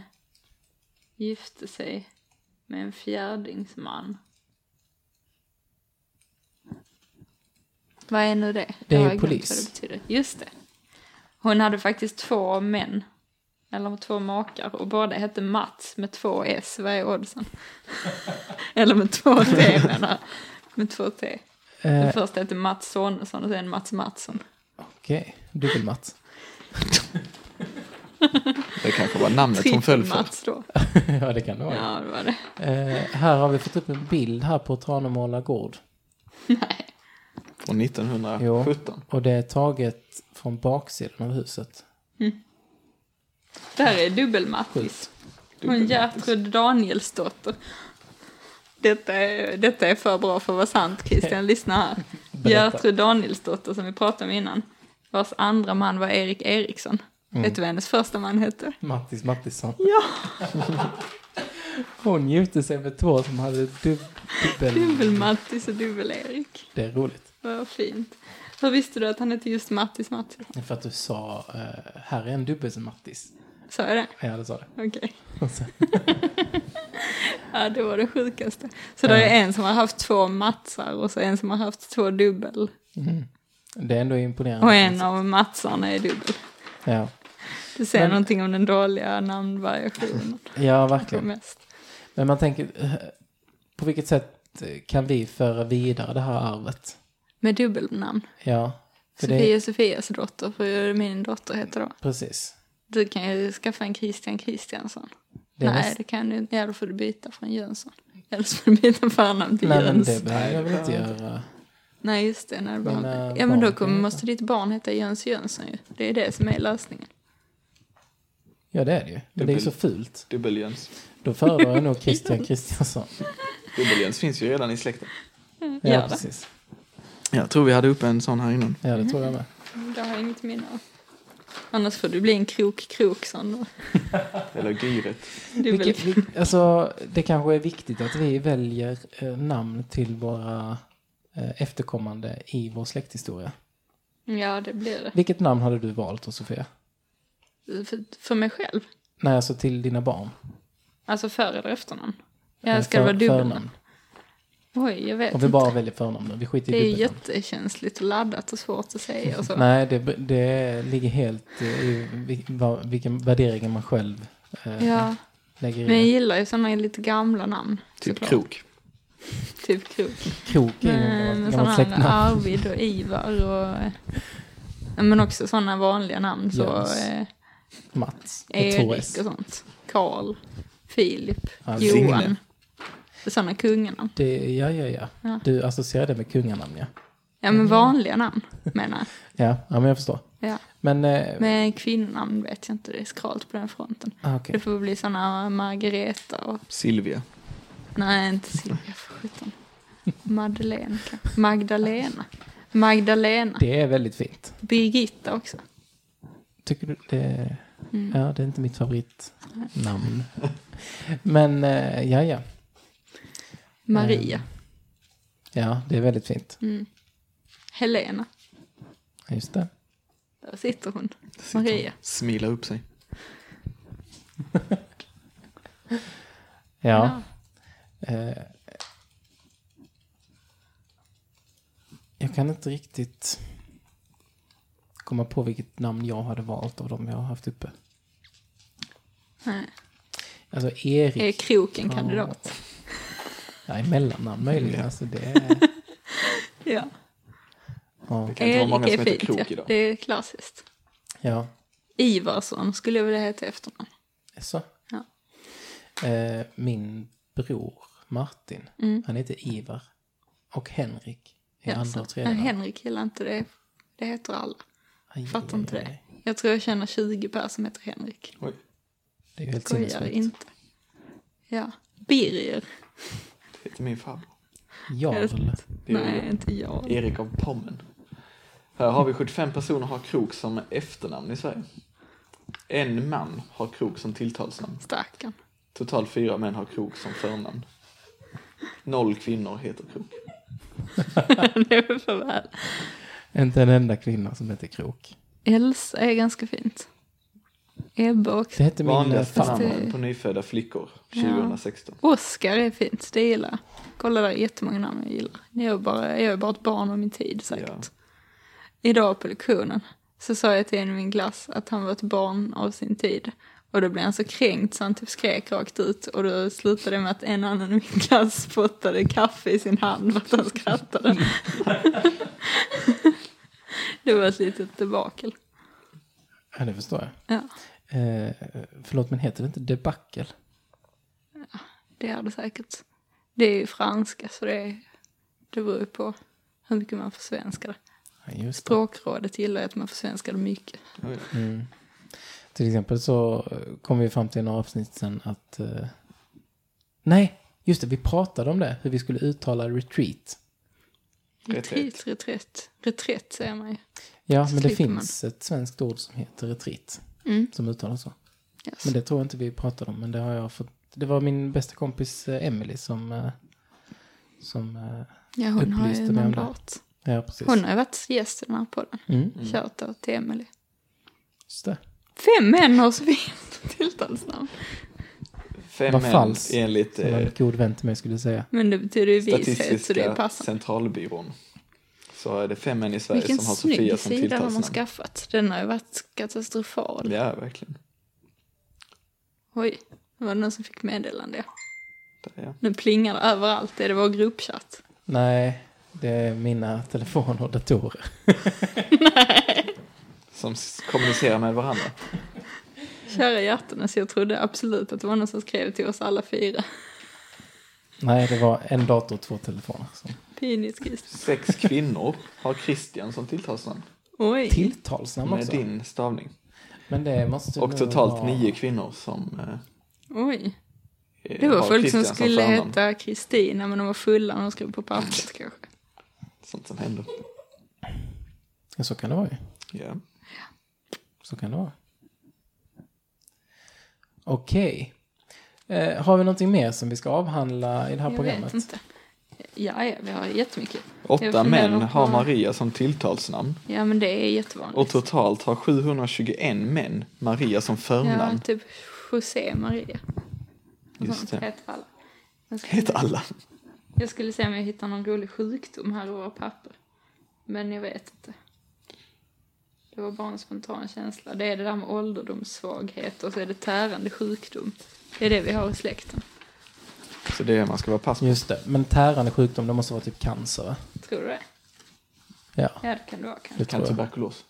S3: gifte sig med en fjärdingsman. Vad är nu det?
S1: Det är
S3: Jag
S1: ju
S3: har glömt vad
S1: polis.
S3: det betyder. Just det. Hon hade faktiskt två män. Eller två makar. Och båda hette Mats med två S. Vad är oddsen? [laughs] eller med två T menar jag. Med två T. Den
S1: Eh,
S3: första heter Mats Sonesson och sen Mats Mattsson.
S1: Okej, dubbelmatt. [laughs]
S2: Det kanske var namnet hon föll för.
S3: Mats då.
S1: ja, det kan det vara.
S3: Ja, det var det.
S1: Eh, här har vi fått upp en bild här på Tranemåla gård.
S2: Från 1917.
S1: Och det är taget från baksidan av huset.
S3: Det här är dubbel-Mattis. Hon Gertrud Danielsdotter. Detta är, detta är för bra för att vara sant, Christian. Lyssna här. Gertrud Danielsdotter, som vi pratade om innan, vars andra man var Erik Eriksson. Vet du vad hennes första man hette?
S1: Mattis Mattisson.
S3: Ja,
S1: [laughs] Hon gifte sig med två som hade dubbel...
S3: dubbel-Mattis och dubbel-Erik.
S1: Det är roligt.
S3: Vad fint. Hur visste du att han hette just Mattis Mattis?
S1: För att du sa, eh, här är en dubbel som Mattis.
S3: Sa jag det?
S1: Ja, det sa [laughs] det.
S3: Okej.
S1: Och sen-
S3: Ja, det var det sjukaste. Så det är en som har haft två mattsar och så en som har haft två dubbel.
S1: Mm. Det är ändå imponerande.
S3: Och en av mattsarna är dubbel.
S1: Ja,
S3: Du säger någonting om den dåliga namnvariationen.
S1: ja
S3: Det är
S1: verkligen.
S3: mest.
S1: Men man tänker, eh, på vilket sätt eh, kan vi föra vidare det här arvet?
S3: Med dubbelnamn.
S1: Ja, för det
S3: Sofia Sofias dotter, för min dotter heter då.
S1: precis.
S3: Du kan ju skaffa en Christian Kristiansson.
S1: Det är
S3: Nej,
S1: näst-
S3: det kan du inte. Ja, då får du byta från Jönsson. Eller så får du byta förnamn till
S1: Nej, men
S3: Jöns.
S1: det behöver jag väl inte göra.
S3: Nej, just det. När barn...
S1: Mina
S3: Ja, men då
S1: eh, barn kan
S3: kommer,
S1: heta-
S3: måste ditt barn heta Jöns Jönsson ju. Det är det som är lösningen.
S1: Ja, det är det ju. Men det är ju så fult.
S2: Dubbeljöns.
S1: Då föredrar jag nog Christian Kristiansson.
S2: Dubbeljöns finns ju redan i släkten.
S1: Ja,
S3: Gör det.
S1: precis.
S2: Jag tror vi hade uppe en sån här innan.
S1: Ja, det tror jag med.
S3: Mm, Det har jag inget minne av. Annars får du bli en krok-krokson då.
S2: Eller Gyret.
S3: Du är väl
S1: Vilket, vil- alltså, det kanske är viktigt att vi väljer eh, namn till våra eh, efterkommande i vår släkthistoria.
S3: Ja, det blir
S1: Vilket namn hade du valt då, Sofia?
S3: det. För, för mig själv?
S1: Nej, alltså till dina barn.
S3: Alltså för eller efternamn? Ja,
S1: Eh,
S3: ska det vara
S1: för-
S3: dubbelnamn?
S1: förnamn.
S3: Oj, jag vet
S1: Om vi
S3: inte.
S1: bara väljer förnamn nu. Vi skiter
S3: Det
S1: i
S3: är ju
S1: dubbelnamn.
S3: jättekänsligt och laddat och svårt att säga och så.
S1: Nej, det, det ligger helt eh, i vil- vad- vilken värdering man själv eh,
S3: Ja,
S1: lägger i.
S3: men jag
S1: det.
S3: gillar ju sådana lite gamla namn.
S2: Typ
S3: såklart.
S2: Krok.
S3: Typ krok.
S1: Krok är ju
S3: Men
S1: en
S3: men
S1: gammal
S3: sådana här
S1: släktnamn.
S3: Arvid och Ivar och... eh, Men också sådana vanliga namn. Så
S1: Jöns.
S3: eh,
S1: Mats. med två
S3: Erik och
S1: S.
S3: sånt. Karl, Filip,
S1: Ja,
S3: Johan.
S2: Signe.
S3: Sådana kungarna.
S1: Det, ja, ja, ja,
S3: Ja.
S1: Du associerar det med kunganamn, ja.
S3: Ja,
S2: Mm.
S3: men vanliga namn menar jag.
S1: Ja, ja men jag förstår.
S3: Ja.
S1: Men, eh,
S3: Med kvinnonamn vet jag inte, det är skralt på den fronten.
S1: ah, okej.
S3: Det får bli sådana Margareta och...
S2: Silvia.
S3: Nej, inte Silvia för sjutton. Madeleine kanske. Magdalena. Magdalena.
S1: Det är väldigt fint.
S3: Birgitta också.
S1: Tycker du det? Ja, det är inte mitt favoritnamn. Men eh, ja, ja.
S3: Maria.
S2: Mm.
S1: Ja, det är väldigt fint.
S3: Helena.
S1: Just det.
S3: Där sitter hon. Maria.
S2: Smila upp sig.
S1: Ja. Eh, jag kan inte riktigt komma på vilket namn jag hade valt av dem jag har haft uppe.
S3: Nej.
S1: Alltså Erik.
S3: Är kroken kandidat?
S1: Nej, mellannamn möjligen. Alltså det är... [laughs]
S3: Ja.
S1: Ja.
S2: Det kan inte vara många
S3: Erik
S2: som
S3: är
S2: heter Krok
S3: fint. Ja.
S2: idag.
S3: Det är klassiskt.
S1: ja.
S3: Ivarsson skulle jag vilja heta i efternamn.
S1: Så.
S3: Ja.
S1: Eh, min bror Martin, han heter Ivar. Och Henrik är
S3: Mm. Ja, så-
S1: andra och
S3: Nej,
S1: tredje. namn.
S3: Henrik gillar inte det. Det heter alla.
S1: Aj,
S3: Fattar
S1: aj,
S3: inte
S1: aj,
S3: det.
S1: aj.
S3: Jag tror jag känner 20 personer som heter Henrik.
S2: Oj,
S1: Det är ju helt
S3: Skojar
S1: sinnessjukt.
S3: inte. Ja. Birger.
S2: det heter min farbror.
S1: Jarl.
S2: Det är
S3: Nej, inte jag.
S2: Erik av Pommen. Här har vi 75 personer har krok som efternamn i Sverige. En man har krok som tilltalsnamn.
S3: Stackarn. [laughs]
S2: Totalt fyra män har krok som förnamn. Noll kvinnor heter krok.
S3: det är för väl.
S1: Inte en enda kvinna som heter Krok.
S3: Elsa är ganska fint. Ebba också.
S1: Det hette min eh,
S2: Vanligaste
S1: farmor.
S2: namnen på nyfödda flickor
S3: Ja.
S2: 2016.
S3: Oskar är fint, det gillar jag. Kolla där, jättemånga namn jag gillar. Jag är bara, jag är bara ett barn av min tid säkert. Idag på lektionen så sa jag till en i min klass att han var ett barn av sin tid. Och då blev han så kränkt så han typ skrek rakt ut och då slutade det med att en annan i min klass spottade kaffe i sin hand för att han skrattade. [laughs] det var ett litet debakel.
S1: Ja, det förstår jag.
S3: Ja,
S1: Eh, förlåt, men heter det inte debacle?
S3: det är det säkert. Det är ju franska så det, är, det beror ju på hur mycket man försvenskar det.
S1: Ja, just det.
S3: Språkrådet gillar ju att man försvenskar det mycket.
S2: Oj.
S1: Mm. Till exempel så eh, kom vi fram till i några avsnitt sen att... Eh, nej, just det, vi pratade om det, hur vi skulle uttala retreat.
S2: Reträtt.
S3: Retreat, reträtt. Reträtt säger man ju.
S1: Ja,
S3: Så
S1: men det
S3: slipper man.
S1: finns ett svenskt ord som heter retreat,
S3: Mm.
S1: som uttalas så.
S3: Yes.
S1: Men det tror jag inte vi pratade om, men det har jag fått... Det var min bästa kompis eh, Emily som... eh, Som... eh,
S3: ja, hon har ju
S1: upplyste mig om det.
S3: mandat.
S1: Ja, precis.
S3: Hon har ju varit gäst i den här podden.
S1: Mm,
S3: Shoutout till Emily.
S1: just det.
S3: Fem män har så fint [laughs] tilltalsnamn.
S2: Fem
S1: Vad
S2: män
S1: falskt.
S2: enligt
S1: Som
S2: eh,
S1: en god vän till mig skulle säga.
S3: Men det betyder ju vishet så det är
S2: Statistiska
S3: passande.
S2: centralbyrån. Så är det fem män i Sverige
S3: Vilken
S2: som har Sofia
S3: snygg
S2: som
S3: sida har man
S2: tilltalsnamn.
S3: skaffat. Den har ju varit katastrofal.
S2: Ja, verkligen.
S3: Oj, det var någon som fick meddelande.
S2: Där, ja.
S3: Nu plingar det överallt. Är det vår gruppchatt?
S1: Nej, det är mina [laughs] telefoner och datorer.
S2: Som s- kommunicerar med varandra.
S3: Kära hjärtan, så jag trodde absolut att det var någon som skrev till oss alla fyra.
S1: Nej, det var en dator och två telefoner. Så.
S3: Pinigt,
S1: [laughs]
S3: Christer.
S2: Sex kvinnor har Christian som tilltalsnamn.
S3: Oj.
S1: Tilltalsnamn
S2: Med
S1: också.
S2: din stavning.
S1: Men det måste
S2: Och
S1: nog
S2: totalt
S1: vara-
S2: nio kvinnor som eh,
S3: Oj. Det
S2: eh,
S3: var
S2: har
S3: folk som
S2: Christian
S3: skulle
S2: förnamn.
S3: heta Kristina men de var fulla när de skrev på pappret kanske.
S2: Sånt som händer.
S1: Ja, så kan det vara ju.
S2: Ja.
S1: Så kan det vara. Okej. Eh, har vi någonting mer som vi ska avhandla i det här
S3: Jag
S1: programmet?
S3: vet inte. Ja, ja, vi har jättemycket.
S2: Åtta
S3: Jag funderar
S2: män
S3: på-
S2: har Maria som tilltalsnamn.
S3: Ja, men det är
S2: Och
S3: jättevanligt.
S2: totalt har 721 män Maria som
S3: Ja,
S2: förnamn.
S3: typ José Maria. Och
S2: Just
S3: sånt
S2: det.
S3: heter alla. Jag skulle,
S2: Heter alla.
S3: jag skulle se om jag hittar någon rolig sjukdom här i våra papper. Men jag vet inte. Det var bara en spontan känsla. Det är det där med ålderdomssvaghet och så är det tärande sjukdom. Det är det vi har i släkten,
S2: Så det är man ska vara pass på.
S1: Just det, men tärande sjukdom, det måste vara typ cancer va?
S3: tror du det?
S1: Ja,
S3: Ja, det kan det vara kanske.
S1: det
S2: Kan
S1: tror jag.
S2: tuberkulos.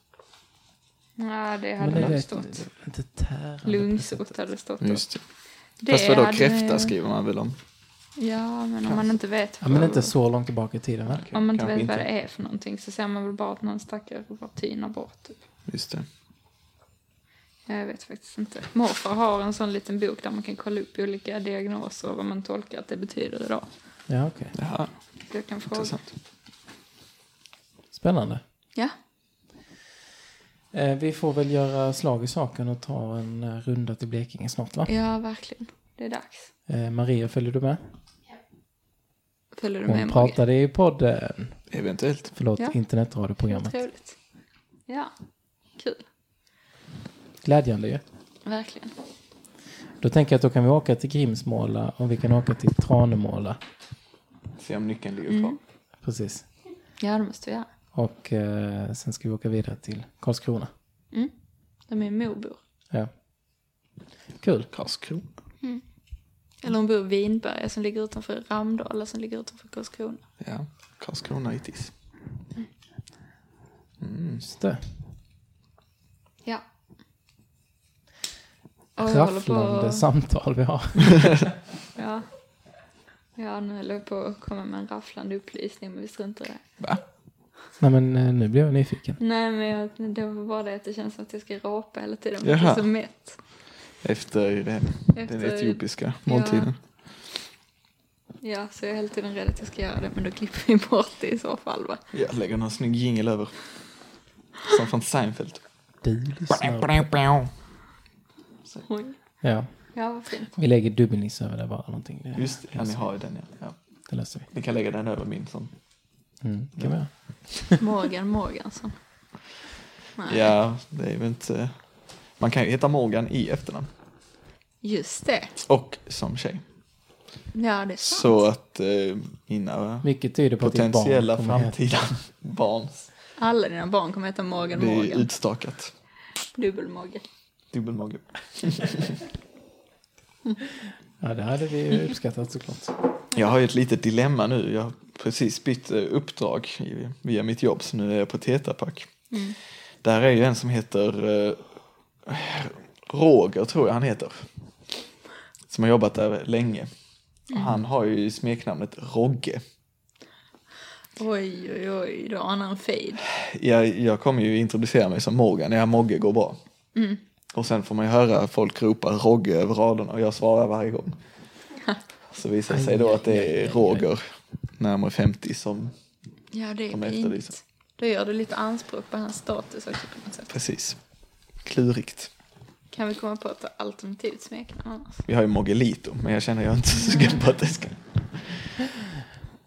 S3: Nej, det
S1: Men
S3: hade
S1: det
S3: nog
S1: är
S3: stått.
S1: inte- inte tärande.
S3: Lungsot hade stått.
S2: Just det.
S3: Det
S2: Fast vadå,
S3: hade-
S2: kräfta skriver man väl om?
S3: Ja, men om man inte vet.
S1: Ja, men
S3: vad-
S1: inte så långt tillbaka i tiden va?
S3: Om man inte
S2: Kanske
S3: vet vad
S2: inte.
S3: det är för någonting så ser man väl bara att någon stackare bara tynar bort. Typ.
S2: Just det.
S3: Jag vet faktiskt inte. Morfar har en sån liten bok där man kan kolla upp olika diagnoser och vad man tolkar att det betyder idag.
S1: Ja, okej.
S2: Ja,
S3: Så jag kan fråga.
S2: intressant.
S1: Spännande.
S3: Ja.
S1: Eh, Eh, Vi får väl göra slag i saken och ta en eh, runda till Blekinge snart va?
S3: Ja, verkligen. Det är dags.
S1: Eh, Maria, följer du med?
S3: Följer du med
S1: Hon
S3: Mogge?
S1: pratade i podden.
S2: Eventuellt.
S1: Förlåt,
S3: Ja.
S1: internetradioprogrammet.
S3: Trevligt. Ja, kul.
S1: Glädjande ju.
S3: Verkligen.
S1: Då tänker jag att då kan vi åka till Grimsmåla och vi kan åka till Tranemåla.
S2: Se om nyckeln ligger kvar.
S1: Precis.
S3: Ja, det måste vi göra.
S1: Och eh, sen ska vi åka vidare till Karlskrona.
S3: De är morbor.
S1: Ja. Kul.
S2: Karlskrona.
S3: Eller hon bor i Vinberga som ligger utanför Ramdala som ligger utanför Karlskrona.
S2: Ja, Karlskrona itis.
S1: Just det.
S3: Ja. Och jag håller
S1: Rafflande
S3: på...
S1: samtal vi har.
S3: Ja. Ja, nu höll jag på att komma med en rafflande upplysning men vi struntar i det.
S2: Va?
S1: Nej men eh, nu blev jag nyfiken.
S3: Nej, men jag, det var bara det att det känns som att jag ska rapa hela tiden. men Jag
S2: Jaha.
S3: är så mätt.
S2: Efter den, den
S3: Efter-
S2: etiopiska måltiden.
S3: Ja, så jag är hela tiden rädd att jag ska göra det men då klipper vi bort det i så fall va.
S2: Jag lägger någon snygg jingel över. Som från Seinfeld.
S1: Du lyssnar.
S3: Oj.
S1: Ja.
S3: Ja,
S2: [laughs]
S3: vad fint.
S1: Vi lägger dubbelnisse över det bara någonting. Det,
S2: Just det, ja, ni har ju den ja. ja.
S1: det löser vi.
S2: Ni kan lägga den över min sån.
S1: Mm, det kan vi göra.
S3: Morgan Morgansson. Nej.
S2: Ja, det är väl inte... Man kan ju heta Morgan i efternamn.
S3: Just det.
S2: Och som tjej.
S3: Ja, det är sant.
S2: Så att eh, mina
S1: Mycket tyder på att ditt barn
S2: potentiella
S1: kommer heta
S2: framtida [laughs] barns
S3: Alla dina barn kommer heta Morgan
S2: Det är
S3: Morgan.
S2: utstakat.
S3: Dubbelmage.
S2: Dubbelmage.
S1: Ja, det hade vi ju uppskattat såklart.
S2: Jag har ju ett litet dilemma nu. Jag har precis bytt eh, uppdrag i- via mitt jobb så nu är jag på Tetra Pak. Där är ju en som heter eh, Roger tror jag han heter. Som har jobbat där länge. Och Han har ju smeknamnet Rogge.
S3: Oj, oj, oj. Då anar en fade.
S2: jag, jag kommer ju introducera mig som Morgan, ja Mogge går bra. Och sen får man ju höra folk ropa Rogge över raderna och jag svarar varje gång. Så visar det sig då att det är Roger, närmare 50, som
S3: Ja, det
S2: Kom
S3: är
S2: efter
S3: fint.
S2: Lisa.
S3: Då gör du lite anspråk på hans status också på något sätt.
S2: precis, klurigt.
S3: Kan vi komma på ett alternativt smeknamn annars?
S2: Vi har ju Moggelito, men jag känner jag är inte så sugen på att det ska...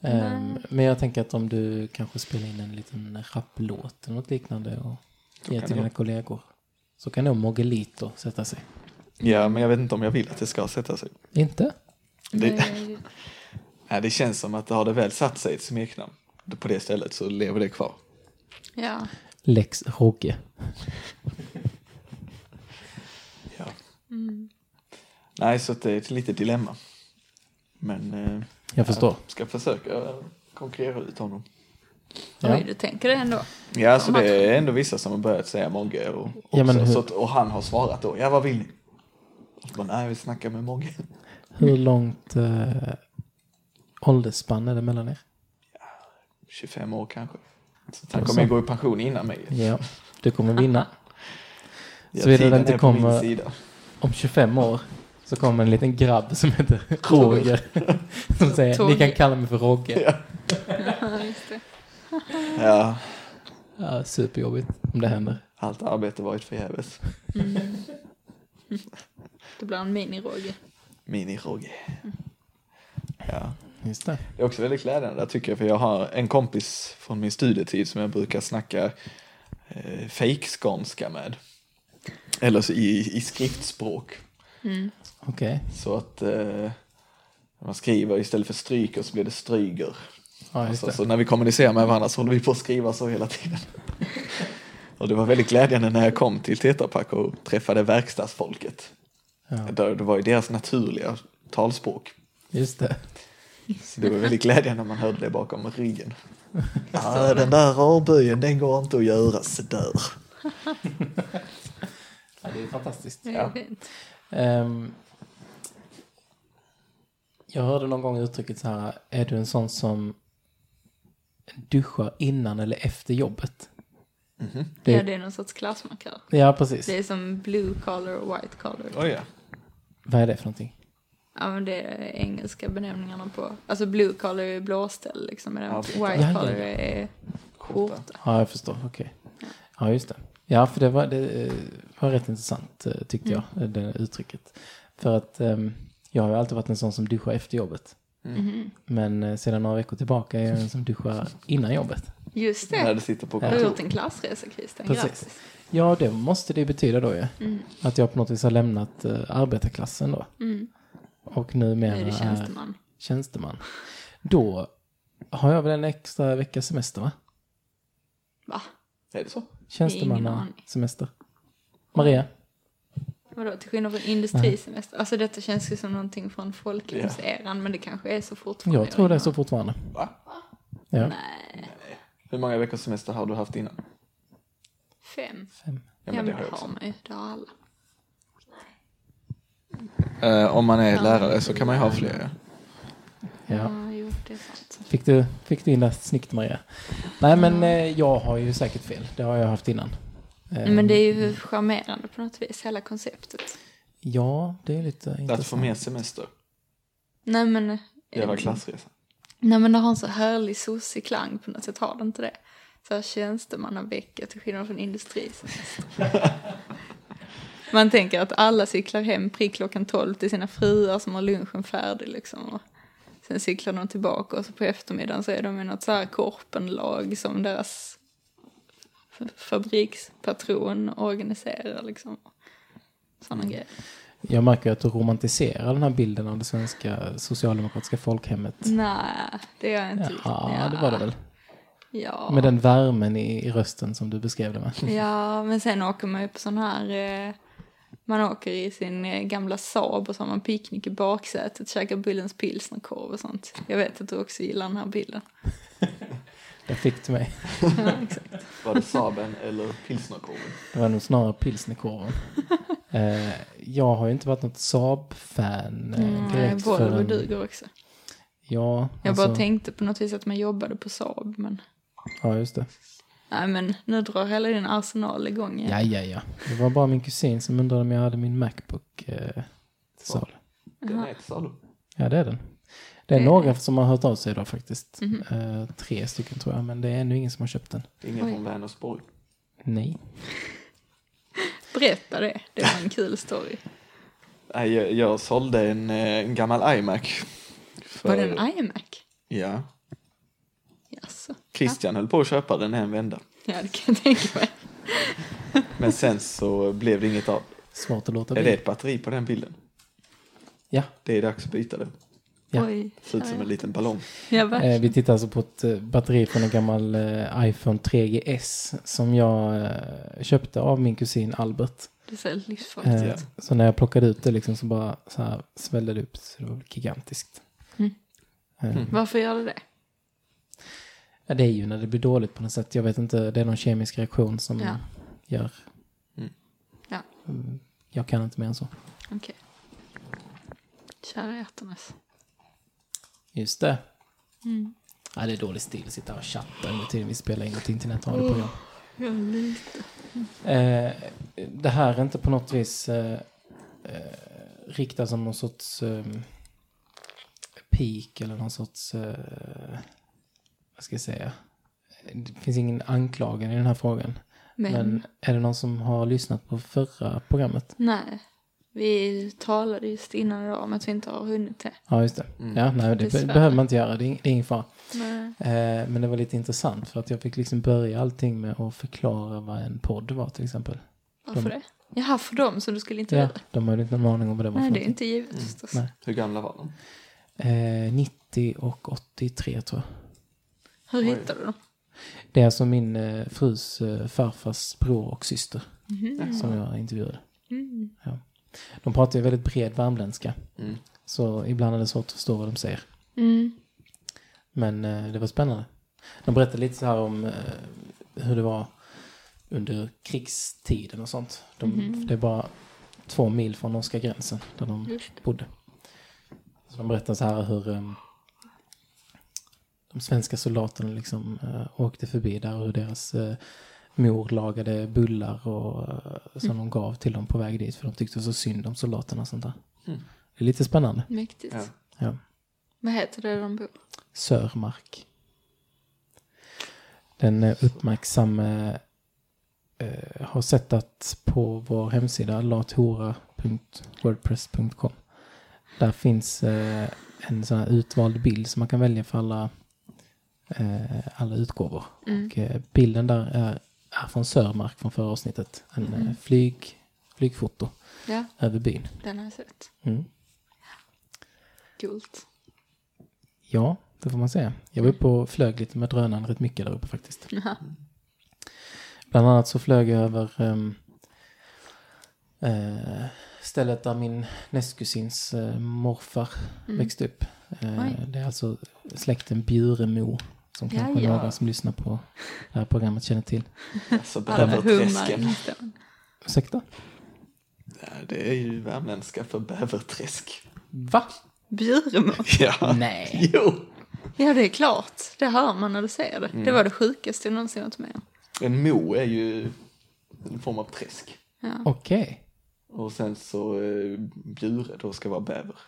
S1: Ehm, men jag tänker att om du kanske spelar in en liten rapplåt eller något liknande och ger
S2: kan
S1: till
S2: det
S1: dina kollegor. Så kan nog Mogelito sätta sig.
S2: Ja, men jag vet inte om jag vill att det ska sätta sig.
S1: Inte?
S2: Det,
S3: Nej,
S2: nej, det känns som att har det väl satt sig ett smeknamn på det stället så lever det kvar.
S3: Ja,
S1: Lex Rogge.
S2: Ja. Nej, så att det är ett litet dilemma. Men... Eh,
S1: Jag förstår.
S2: ska försöka konkurrera ut honom.
S1: Ja.
S3: oj, du tänker det ändå. [laughs]
S2: Ja, alltså det är ändå vissa som har börjat säga Mogge och, också,
S1: Ja, men hur-
S2: så att, och han har svarat då, ja vad vill ni? Och så bara, nej vi snackar med Mogge. [laughs]
S1: Hur långt eh, åldersspann är det mellan er?
S2: 25 år kanske. Så att han kommer ju gå i pension innan mig.
S1: Ja, du kommer vinna.
S2: [laughs] Ja,
S1: Så är det
S2: tiden
S1: inte
S2: är på min
S1: kommer-
S2: sida.
S1: Om 25 år så kommer en liten grabb som
S2: [laughs]
S1: heter Roger. [laughs] Som säger, ni kan kalla mig för Rogge.
S3: Ja, just det.
S2: Ja,
S1: Ja, superjobbigt om det händer.
S2: allt arbete varit förgäves.
S3: Mm. Det blir en mini-Roger.
S2: Mini-Rogge.
S1: Mm.
S2: Ja.
S1: Just det.
S2: Det är också väldigt glädjande tycker jag, för jag har en kompis från min studietid som jag brukar snacka eh, fejkskånska med. Eller så i, i skriftspråk.
S1: Okej.
S2: Så att eh, man skriver istället för stryker så blir det stryger.
S1: Ja, just
S2: Så,
S1: det.
S2: så när vi kommunicerar med varandra så håller vi på att skriva så
S1: [laughs]
S2: hela tiden. och det var väldigt glädjande när jag kom till Tetra Pak och träffade verkstadsfolket.
S1: Ja,
S2: Där Det var ju deras naturliga talspråk.
S1: just det.
S2: Så det var väldigt glädjande när man hörde det bakom [laughs] ryggen. Ja, den där avböjen den går inte att göra sådär.
S1: Ja, det är fantastiskt.
S3: Det är
S2: Ja.
S3: fint.
S1: Ehm, jag hörde någon gång uttrycket så här, är du en sån som duschar innan eller efter jobbet?
S2: Mhm.
S1: Det-
S3: Ja, det är någon sorts klassmarkör.
S1: Ja, precis.
S3: Det är som blue collar och white collar.
S2: Oj ja.
S1: Vad är det för någonting?
S3: Ja, men det är engelska benämningarna på. Alltså blue collar är blåställ liksom. Medan
S2: Ja,
S3: white
S2: precis.
S1: Ja, ja,
S3: collar
S1: ja.
S3: är skjorta.
S1: Ja, jag förstår. Okej. Ja, just det. Ja, för det var, det eh, var rätt intressant eh, tyckte jag, eh,
S3: Mm.
S1: det uttrycket. För att ehm, jag har ju alltid varit en sån som duschar efter jobbet.
S3: Mm.
S1: Men eh, sedan några veckor tillbaka är jag en som duschar innan jobbet.
S3: Just
S2: När
S3: det.
S2: du sitter på
S3: Du har
S2: kontor.
S3: gjort en klassresa Christian,
S1: Precis.
S3: grattis. Mm.
S1: Ja, det måste det ju betyda då ju. Att jag på något vis har lämnat eh, arbetarklassen då. Och numera
S3: Mm. Nu är det
S1: är
S3: tjänsteman.
S1: tjänsteman. Då har jag väl en extra veckas semester va?
S3: Va?
S2: Är det så?
S3: aning.
S1: Tjänstemannasemester. Maria?
S3: Vadå, till skillnad från industrisemester? Alltså detta känns ju som någonting från folkhemseran men det kanske är så fortfarande.
S1: Jag tror det är så fortfarande.
S2: Va?
S1: Ja.
S3: Nej,
S2: Hur många veckors semester har du haft innan?
S3: fem.
S1: Fem.
S2: Ja,
S3: Ja,
S2: men det har
S3: har,
S2: jag också.
S3: man ju, det har alla.
S2: Eh, om man är lärare så kan man ju ha fler. ja.
S1: Ja.
S3: Ja, jo, det är sant.
S1: Fick du, fick du in det snyggt Maria? Nej men eh, jag har ju säkert fel. Det har jag haft innan. Eh,
S3: Men det är ju charmerande på något vis, hela konceptet.
S1: Ja, det är lite
S2: Att få
S1: intressant.
S2: mer semester.
S3: Nej men,
S2: Göra klassresa.
S3: nej, men det har en så härlig sossig klang på något sätt, har det inte det? Så här tjänstemannavecka till skillnad
S1: [laughs]
S3: från industrisemester. Man tänker att alla cyklar hem prick klockan 12 till sina fruar som har lunchen färdig liksom. Och sen cyklar de tillbaka och så på eftermiddagen så är de i något så här korpenlag som deras f- fabrikspatron organiserar liksom. Sådana
S1: Mm.
S3: grejer.
S1: Jag märker ju att du romantiserar den här bilden av det svenska socialdemokratiska folkhemmet.
S3: Nej, det gör jag inte riktigt.
S1: Ja, det var det väl.
S3: Ja.
S1: Med den värmen i, i rösten som du beskrev det med.
S3: Ja, men sen åker man ju på sån här... Eh, man åker i sin eh, gamla Saab och så har man picknick i baksätet, käkar Bullens pilsnerkorv och sånt. Jag vet att du också gillar den här bilden.
S1: Det fick du mig.
S2: Var det Saben [laughs] eller pilsnerkorven?
S1: Det var nog snarare
S3: [laughs]
S1: pilsnerkorven. Eh, jag har ju inte varit något Saab-fan eh,
S3: Nej,
S1: direkt
S3: Volvo
S1: förrän-
S3: duger också.
S1: Ja,
S3: Jag
S1: alltså,
S3: bara tänkte på något vis att man jobbade på Saab, men...
S1: Ja, just det.
S3: Nej, men nu drar hela din arsenal igång igen.
S1: Ja, ja, ja. Det var bara min kusin som undrade om jag hade min Macbook eh, till salu.
S2: Den är till salu.
S1: Ja, det är den. Det är
S3: Det-
S1: några som har hört av sig idag faktiskt.
S3: Mhm.
S1: Eh, tre stycken tror jag, men det är ännu ingen som har köpt den.
S2: Ingen
S3: Oj.
S2: från Vänersborg.
S1: Nej.
S3: Berätta det, det var en
S1: [laughs]
S3: kul story.
S2: Nej, jag, jag sålde en, eh, en gammal iMac. För,
S3: Var det en iMac?
S2: Ja.
S3: Jaså?
S2: Christian höll på att köpa den en vända.
S3: Ja, det kan jag tänka mig.
S2: Men sen så blev det inget av.
S1: Svårt att låta
S2: Är det
S1: bli.
S2: ett batteri på den bilden?
S1: Ja.
S2: Det är dags att byta den.
S1: Ja.
S3: Oj.
S2: Ser ut som en liten ballong.
S3: Ja, verkligen.
S1: Eh, vi tittar alltså på ett eh, batteri från en gammal eh, iPhone 3GS som jag eh, köpte av min kusin Albert.
S3: Det är så livsfarligt.
S1: Eh, så när jag plockade ut det liksom så bara så här svällde det upp så det var gigantiskt.
S3: Mm.
S1: Eh,
S3: Varför gör det det?
S1: Ja, det är ju när det blir dåligt på något sätt. Jag vet inte, det är någon kemisk reaktion som
S3: Ja.
S1: gör... Mm,
S3: Ja.
S1: Jag kan inte mer än så.
S3: Okej. Kära hjärtanes.
S1: Just det.
S3: Mm.
S1: Ja, det är dålig stil att sitta och chatta under tiden vi spelar in ett internetradioprogram. Eh, det här är inte på något vis eh, eh, riktat som någon sorts eh, peak eller någon sorts, eh, vad ska jag säga, det finns ingen anklagan i den här frågan.
S3: Men,
S1: Men är det någon som har lyssnat på förra programmet?
S3: nej. Vi talade just innan idag om att vi inte har hunnit det.
S1: Ja, just det. Ja, nej, det be-
S3: Dessvärre.
S1: behöver man inte göra. Det är, ing- det är ingen fara.
S3: Nej.
S1: Eh, men det var lite intressant för att jag fick liksom börja allting med att förklara vad en podd var till exempel.
S3: Varför det? Jaha, för dem som du skulle
S1: Ja,
S3: intervjua?
S1: de hade inte någon aning om vad det var
S3: nej,
S1: för Mm.
S3: det är inte givet förstås.
S1: Nej.
S2: Hur gamla var de?
S1: någonting. eh, 90 och 83 tror jag.
S3: Hur hittade du dem?
S1: Det är alltså min eh, frus eh, farfars bror och syster
S2: Mm.
S1: som jag intervjuade. Ja. De pratar ju väldigt bred värmländska. Så ibland är det svårt att förstå vad de säger.
S3: Mm.
S1: Men eh, det var spännande. De berättade lite så här om eh, hur det var under krigstiden och sånt. De, Det är bara två mil från norska gränsen där de bodde. Så de berättade så här hur eh, de svenska soldaterna liksom eh, åkte förbi där och hur deras eh, mor lagade bullar och, eh, som de gav till dem på väg dit för de tyckte så synd om soldaterna och sånt där. Det är lite spännande.
S3: Mäktigt.
S2: Ja.
S1: Ja.
S3: Vad heter det de bor?
S1: Sörmark. Den eh, uppmärksamme eh, har sett att på vår hemsida lathora.wordpress.com där finns eh, en sån här utvald bild som man kan välja för alla, eh, alla utgåvor. Och, eh, bilden där är, är från Sörmark från förra avsnittet. En eh, flyg, flygfoto
S3: Ja,
S1: över byn.
S3: den har jag sett.
S1: Mm.
S3: [laughs] Coolt.
S1: Ja, det får man säga. Jag var uppe och flög lite med drönaren rätt mycket där uppe faktiskt. Bland annat så flög jag över ehm, eh, stället där min nästkusins eh, morfar växte upp. Eh,
S3: Oj.
S1: det är alltså släkten Bjuremo som kanske
S3: Jaja.
S1: några som lyssnar på det här programmet känner till.
S2: Alltså
S3: Alla hummar.
S2: bäverträsken.
S1: Ursäkta?
S2: Ja, Det är ju värmländska
S1: [laughs]
S2: för bäverträsk.
S1: Va?
S3: Bjuremo.
S2: Ja.
S1: Nej.
S2: Jo.
S3: Ja, det är klart. Det hör man när du säger det. Det var det sjukaste jag någonsin varit med om.
S2: En mo är ju en form av träsk.
S1: Okej.
S2: Och sen så eh, bjure då ska vara bäver.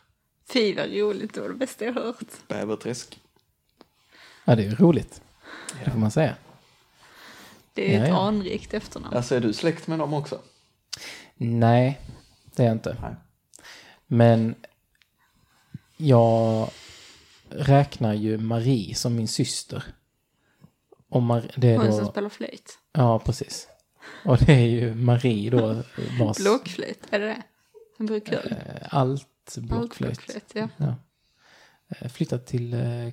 S3: Fy vad roligt, det var det bästa jag hört.
S2: Bäverträsk.
S1: Ja, det är ju roligt. Det får man säga.
S3: Det är
S1: Ja,
S3: ett
S1: ja.
S3: anrikt efternamn.
S2: Alltså är du släkt med dem också?
S1: Nej, det är jag inte.
S2: Nej.
S1: Men jag räknar ju Marie som min syster. Och Mar- det är
S3: Hon som
S1: då,
S3: spelar flöjt.
S1: ja, precis. Och det är ju Marie då vars
S3: Blockflöjt, är det det? En brukul.
S1: eh, allt
S3: Allt
S1: blockflöjt.
S3: blockflöjt, ja.
S1: Ja. Eh, Flyttat till eh,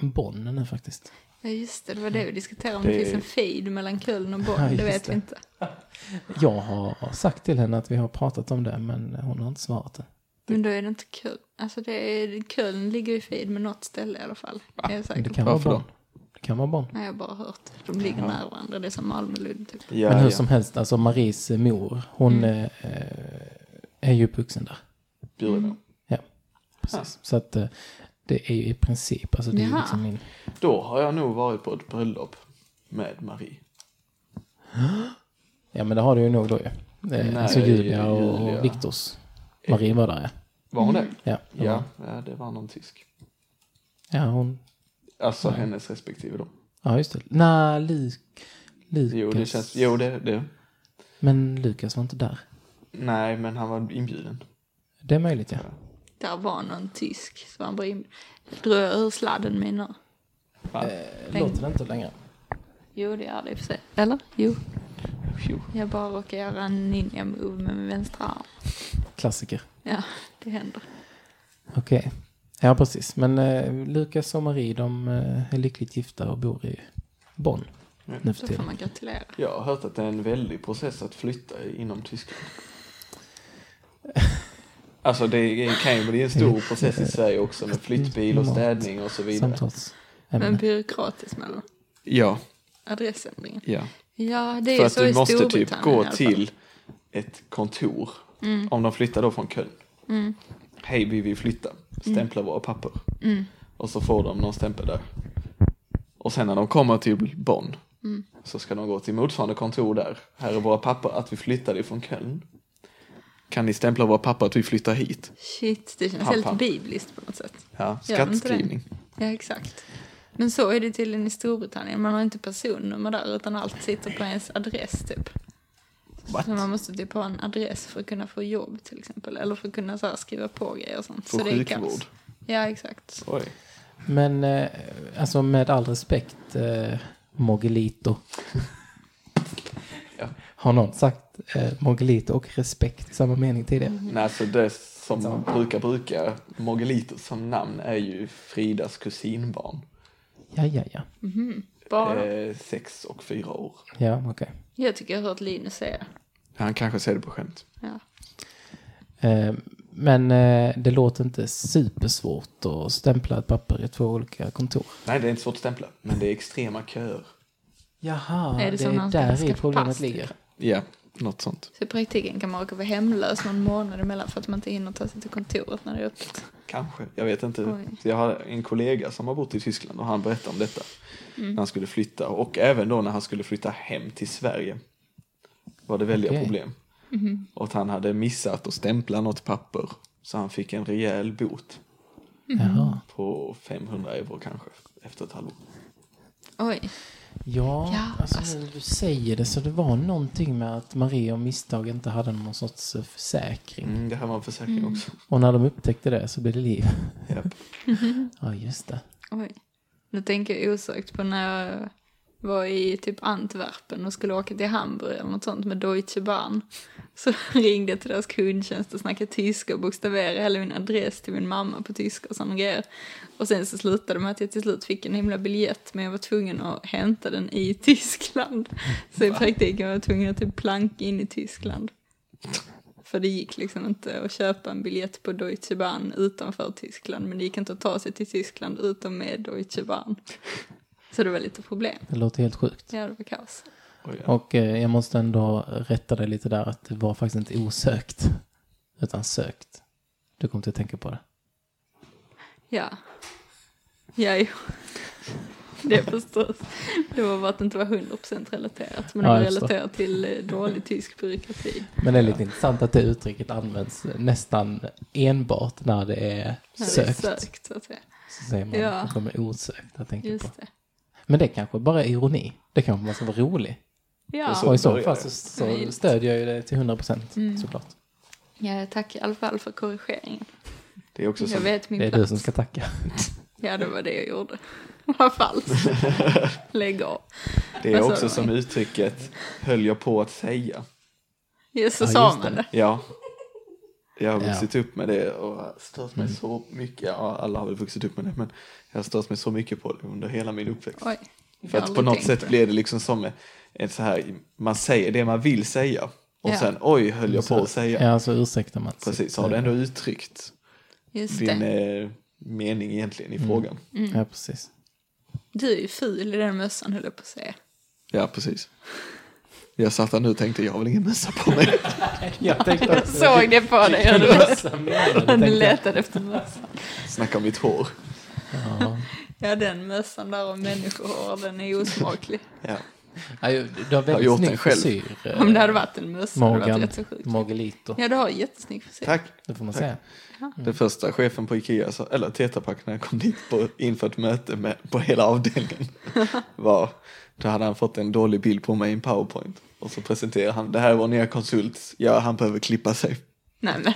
S1: Bonn nu faktiskt.
S3: Ja just det, det var det vi diskuterade. Om det,
S2: Det-
S3: finns en fejd mellan Köln och Bonn,
S1: Ja,
S3: det
S1: just
S3: vet vi
S1: det.
S3: inte.
S1: Jag har sagt till henne att vi har pratat om det men hon har inte svarat det.
S3: Men då är det inte Köln. Alltså det är, Köln ligger i fejd med något ställe i alla fall. Det är jag
S1: Men
S3: säker
S1: det
S3: på.
S1: kan vara
S2: Varför då?
S1: Bonn. Det kan vara Bonn.
S3: Nej, jag har bara hört. det. De ligger nära varandra, det är som Malmö och Lund typ.
S2: Ja,
S1: Men hur
S2: ja.
S1: som helst, alltså Maries eh, mor, hon eh, eh, är ju uppvuxen där.
S2: Bjuremo.
S1: Ja, precis. Så att eh, det är ju i princip, alltså det är ju
S3: Jaha.
S1: liksom min...
S2: Då har jag nog varit på ett bröllop med Marie.
S1: Ja men det har du ju nog då ju.
S2: Nej,
S1: Nej, alltså Julia och
S2: Julia.
S1: och Viktors. Marie var där ja.
S2: Var hon det?
S1: Ja, det var
S2: Ja,
S1: hon.
S2: ja, det var någon tysk.
S1: ja hon...
S2: Alltså hennes respektive då.
S1: Ja just det. Nej, Luk... Lukas.
S2: Jo, det känns... Jo, det... det.
S1: Men Lukas var inte där.
S2: Nej, men han var inbjuden.
S1: Det är möjligt ja.
S3: Där var någon tysk som han bara in... Drog jag ur sladden min nu?
S2: Va?
S1: Eh. Låter det inte längre.
S3: Jo, det är det i och för sig. Eller? Jo.
S2: Jo.
S3: Jag bara råkar göra en ninja-move med min vänstra arm.
S1: Klassiker.
S3: Ja, det händer.
S1: Okej. Ja precis. Men eh, Lukas och Marie de eh, är lyckligt gifta och bor i Bonn. Nu för
S3: Då får
S1: tiden.
S3: man gratulera.
S2: Jag har hört att det är en väldig process att flytta inom Tyskland. Alltså det är- kan ju bli en stor process i Sverige också med flyttbil och städning och så vidare.
S1: Samtalsämne.
S3: Men byråkratiskt mellan
S2: Ja,
S3: adressändringen.
S2: ja.
S3: Ja, det är
S2: För
S3: ju
S2: att
S3: så i
S2: du måste typ
S3: Storbritannien i
S2: gå
S3: alla fall. Mm.
S2: till ett kontor. Om de flyttar då från Köln. Hej, vi vill flytta. Stämpla våra papper.
S3: Mm.
S2: Och så får de någon stämpel där. Och sen när de kommer till Bonn
S3: Mm.
S2: så ska de gå till motsvarande kontor där. Här är våra papper att vi flyttade från Köln. Kan ni stämpla våra papper att vi flyttar hit?
S3: Shit, det känns
S2: Pappa.
S3: helt bibliskt på något sätt.
S2: Ja,
S3: Gör de inte det?
S2: skattskrivning.
S3: Ja, exakt. Men så är det tydligen i Storbritannien. Man har inte personnummer där utan allt sitter på ens adress typ.
S2: What?
S3: Så man måste typ ha en adress för att kunna få jobb till exempel. Eller för att kunna så här, skriva på grejer och sånt.
S2: Få
S3: så det är kaos.
S2: sjukvård.
S3: Ja, exakt.
S2: Oj.
S1: Men eh, alltså med all respekt, eh, Mogelito.
S2: Ja.
S1: Har någon sagt eh, Mogelito och respekt i samma mening tidigare?
S3: Mm.
S2: Nej, alltså det som man brukar bruka, Mogelitos som namn är ju Fridas kusinbarn.
S1: Ja, ja, ja.
S3: Bara.
S2: Eh, sex och fyra år.
S1: Ja, okej.
S3: Jag tycker jag har hört Linus säga det.
S2: Han kanske säger det på skämt.
S3: Ja.
S1: Eh, men eh, det låter inte supersvårt att stämpla ett papper i två olika kontor.
S2: Nej, det är inte svårt att stämpla, men det är extrema köer.
S1: Jaha,
S3: Är det
S1: det,
S3: som
S1: är
S3: man ska
S1: där i
S3: skaffa
S1: problemet
S3: pass, typ?
S1: ligger.
S2: Ja, något sånt.
S3: Så i praktiken kan man råka vara hemlös någon månad emellan för att man inte hinner ta sig till kontoret när det är öppet.
S2: Kanske, jag vet inte.
S3: Oj.
S2: Jag har en kollega som har bott i Tyskland och han berättade om detta.
S3: Mm.
S2: När han skulle flytta och även då när han skulle flytta hem till Sverige var det väldiga
S1: Okej.
S2: problem.
S3: Mhm.
S2: Och att han hade missat att stämpla något papper så han fick en rejäl bot
S1: Jaha.
S3: Mm.
S2: på 500 euro kanske efter ett halvår.
S3: Oj,
S1: Ja,
S3: Ja,
S1: alltså,
S3: alltså.
S1: nu när du säger det så det var någonting med att Maria och misstag inte hade någon sorts eh, försäkring.
S2: Mm, det här var en försäkring också.
S1: Och när de upptäckte det så blev det liv.
S2: [laughs]
S3: [laughs]
S2: Japp.
S1: Ja, just det.
S3: Oj. Nu tänker jag osökt på när jag var i typ Antwerpen och skulle åka till Hamburg eller något sånt med Deutsche Bahn. Så [laughs] ringde jag till deras kundtjänst och snackade tyska och bokstaverade hela min adress till min mamma på tyska och sådana grejer. Och sen så slutade det med att jag till slut fick en himla biljett men jag var tvungen att hämta den i [laughs] Tyskland. Så i praktiken var jag tvungen att typ planka in i Tyskland. För det gick liksom inte att köpa en biljett på Deutsche Bahn utanför Tyskland. Men det gick inte att ta sig till Tyskland utom med Deutsche Bahn. Så det var lite problem.
S1: Det låter helt sjukt.
S3: Ja, det var kaos.
S2: Oj, ja.
S1: Och eh, jag måste ändå rätta dig lite där att det var faktiskt inte osökt. Utan sökt. Du kom till att tänka på det.
S3: Ja. Ja, jo. Det förstås. Det var bara att det inte var 100% relaterat. Men det
S1: Ja,
S3: var
S1: jag förstår.
S3: relaterat till eh, dålig tysk byråkrati.
S1: Men det är lite intressant att det uttrycket används nästan enbart när det är
S3: När det är
S1: sökt.
S3: sökt så att säga.
S1: Så säger man
S3: Ja.
S1: att de är osökt att tänka på.
S3: Just det.
S1: Men det kanske bara är ironi. Det kanske man ska vara rolig.
S2: Så
S1: Och
S3: Ja.
S1: i så
S2: börjar
S1: fall
S2: det.
S1: så, så
S3: Vilt.
S1: stödjer jag ju det till 100 procent
S3: Mm.
S1: såklart.
S3: ja, tack i alla fall för korrigeringen.
S2: Det är också så
S3: Jag vet min
S1: Det är
S3: plats.
S1: du som ska tacka.
S3: Ja, det var det jag gjorde.
S1: [laughs]
S3: Vad falskt. Lägg av.
S2: Det är
S3: Alltså,
S2: också som
S3: nej.
S2: uttrycket höll jag på att säga.
S3: Ja, så
S1: Ja,
S3: sa
S1: just
S3: man
S1: det.
S3: det.
S2: Ja. Jag har
S1: Ja.
S2: vuxit upp med det och har stört
S3: Mm.
S2: mig så mycket. Ja, alla har väl vuxit upp med det, men jag har stört mig så mycket på det under hela min uppväxt.
S3: Oj. jag
S2: För
S3: har
S2: att på
S3: aldrig
S2: något
S3: tänkt
S2: sätt
S3: det.
S2: blir det liksom som ett så här, man säger det man vill säga och
S3: Ja.
S2: sen oj höll jag på att säga.
S1: Ja, alltså, så ursäktar man sig.
S2: Precis, så har du ändå uttryckt
S3: Just
S2: din
S3: det. Mm.
S2: eh, mening egentligen i frågan.
S1: Ja, precis.
S3: Du är ju ful i den mössan höll jag på att säga.
S2: Ja, precis. Jag satt där nu och tänkte jag har väl ingen mössa på
S3: [laughs]
S2: mig.
S1: Jag tänkte
S3: Jag såg det på dig. hur du- Du letade efter mössan.
S2: Snacka om mitt hår.
S3: Ja, den mössan där om människohår, den är osmaklig.
S2: Ja.
S1: Du har
S2: Jag har
S1: väldigt
S2: gjort den
S1: snygg
S2: själv.
S1: frisyr. eh,
S3: [laughs] Om det hade varit en mössa hade det
S1: Morgan
S3: varit rätt så sjukt.
S1: Morgelito.
S3: Ja, du har jättesnygg frisyr.
S2: Tack.
S1: Det får man
S2: Tack.
S1: säga.
S2: Den första chefen på Ikea, sa, eller Tetra Pak när jag kom dit på, inför ett möte med, på hela
S3: [laughs]
S2: avdelningen var, då hade han fått en dålig bild på mig i en powerpoint. Och så presenterade han, det här är vår nya konsult, ja han behöver klippa sig.
S3: Nej, men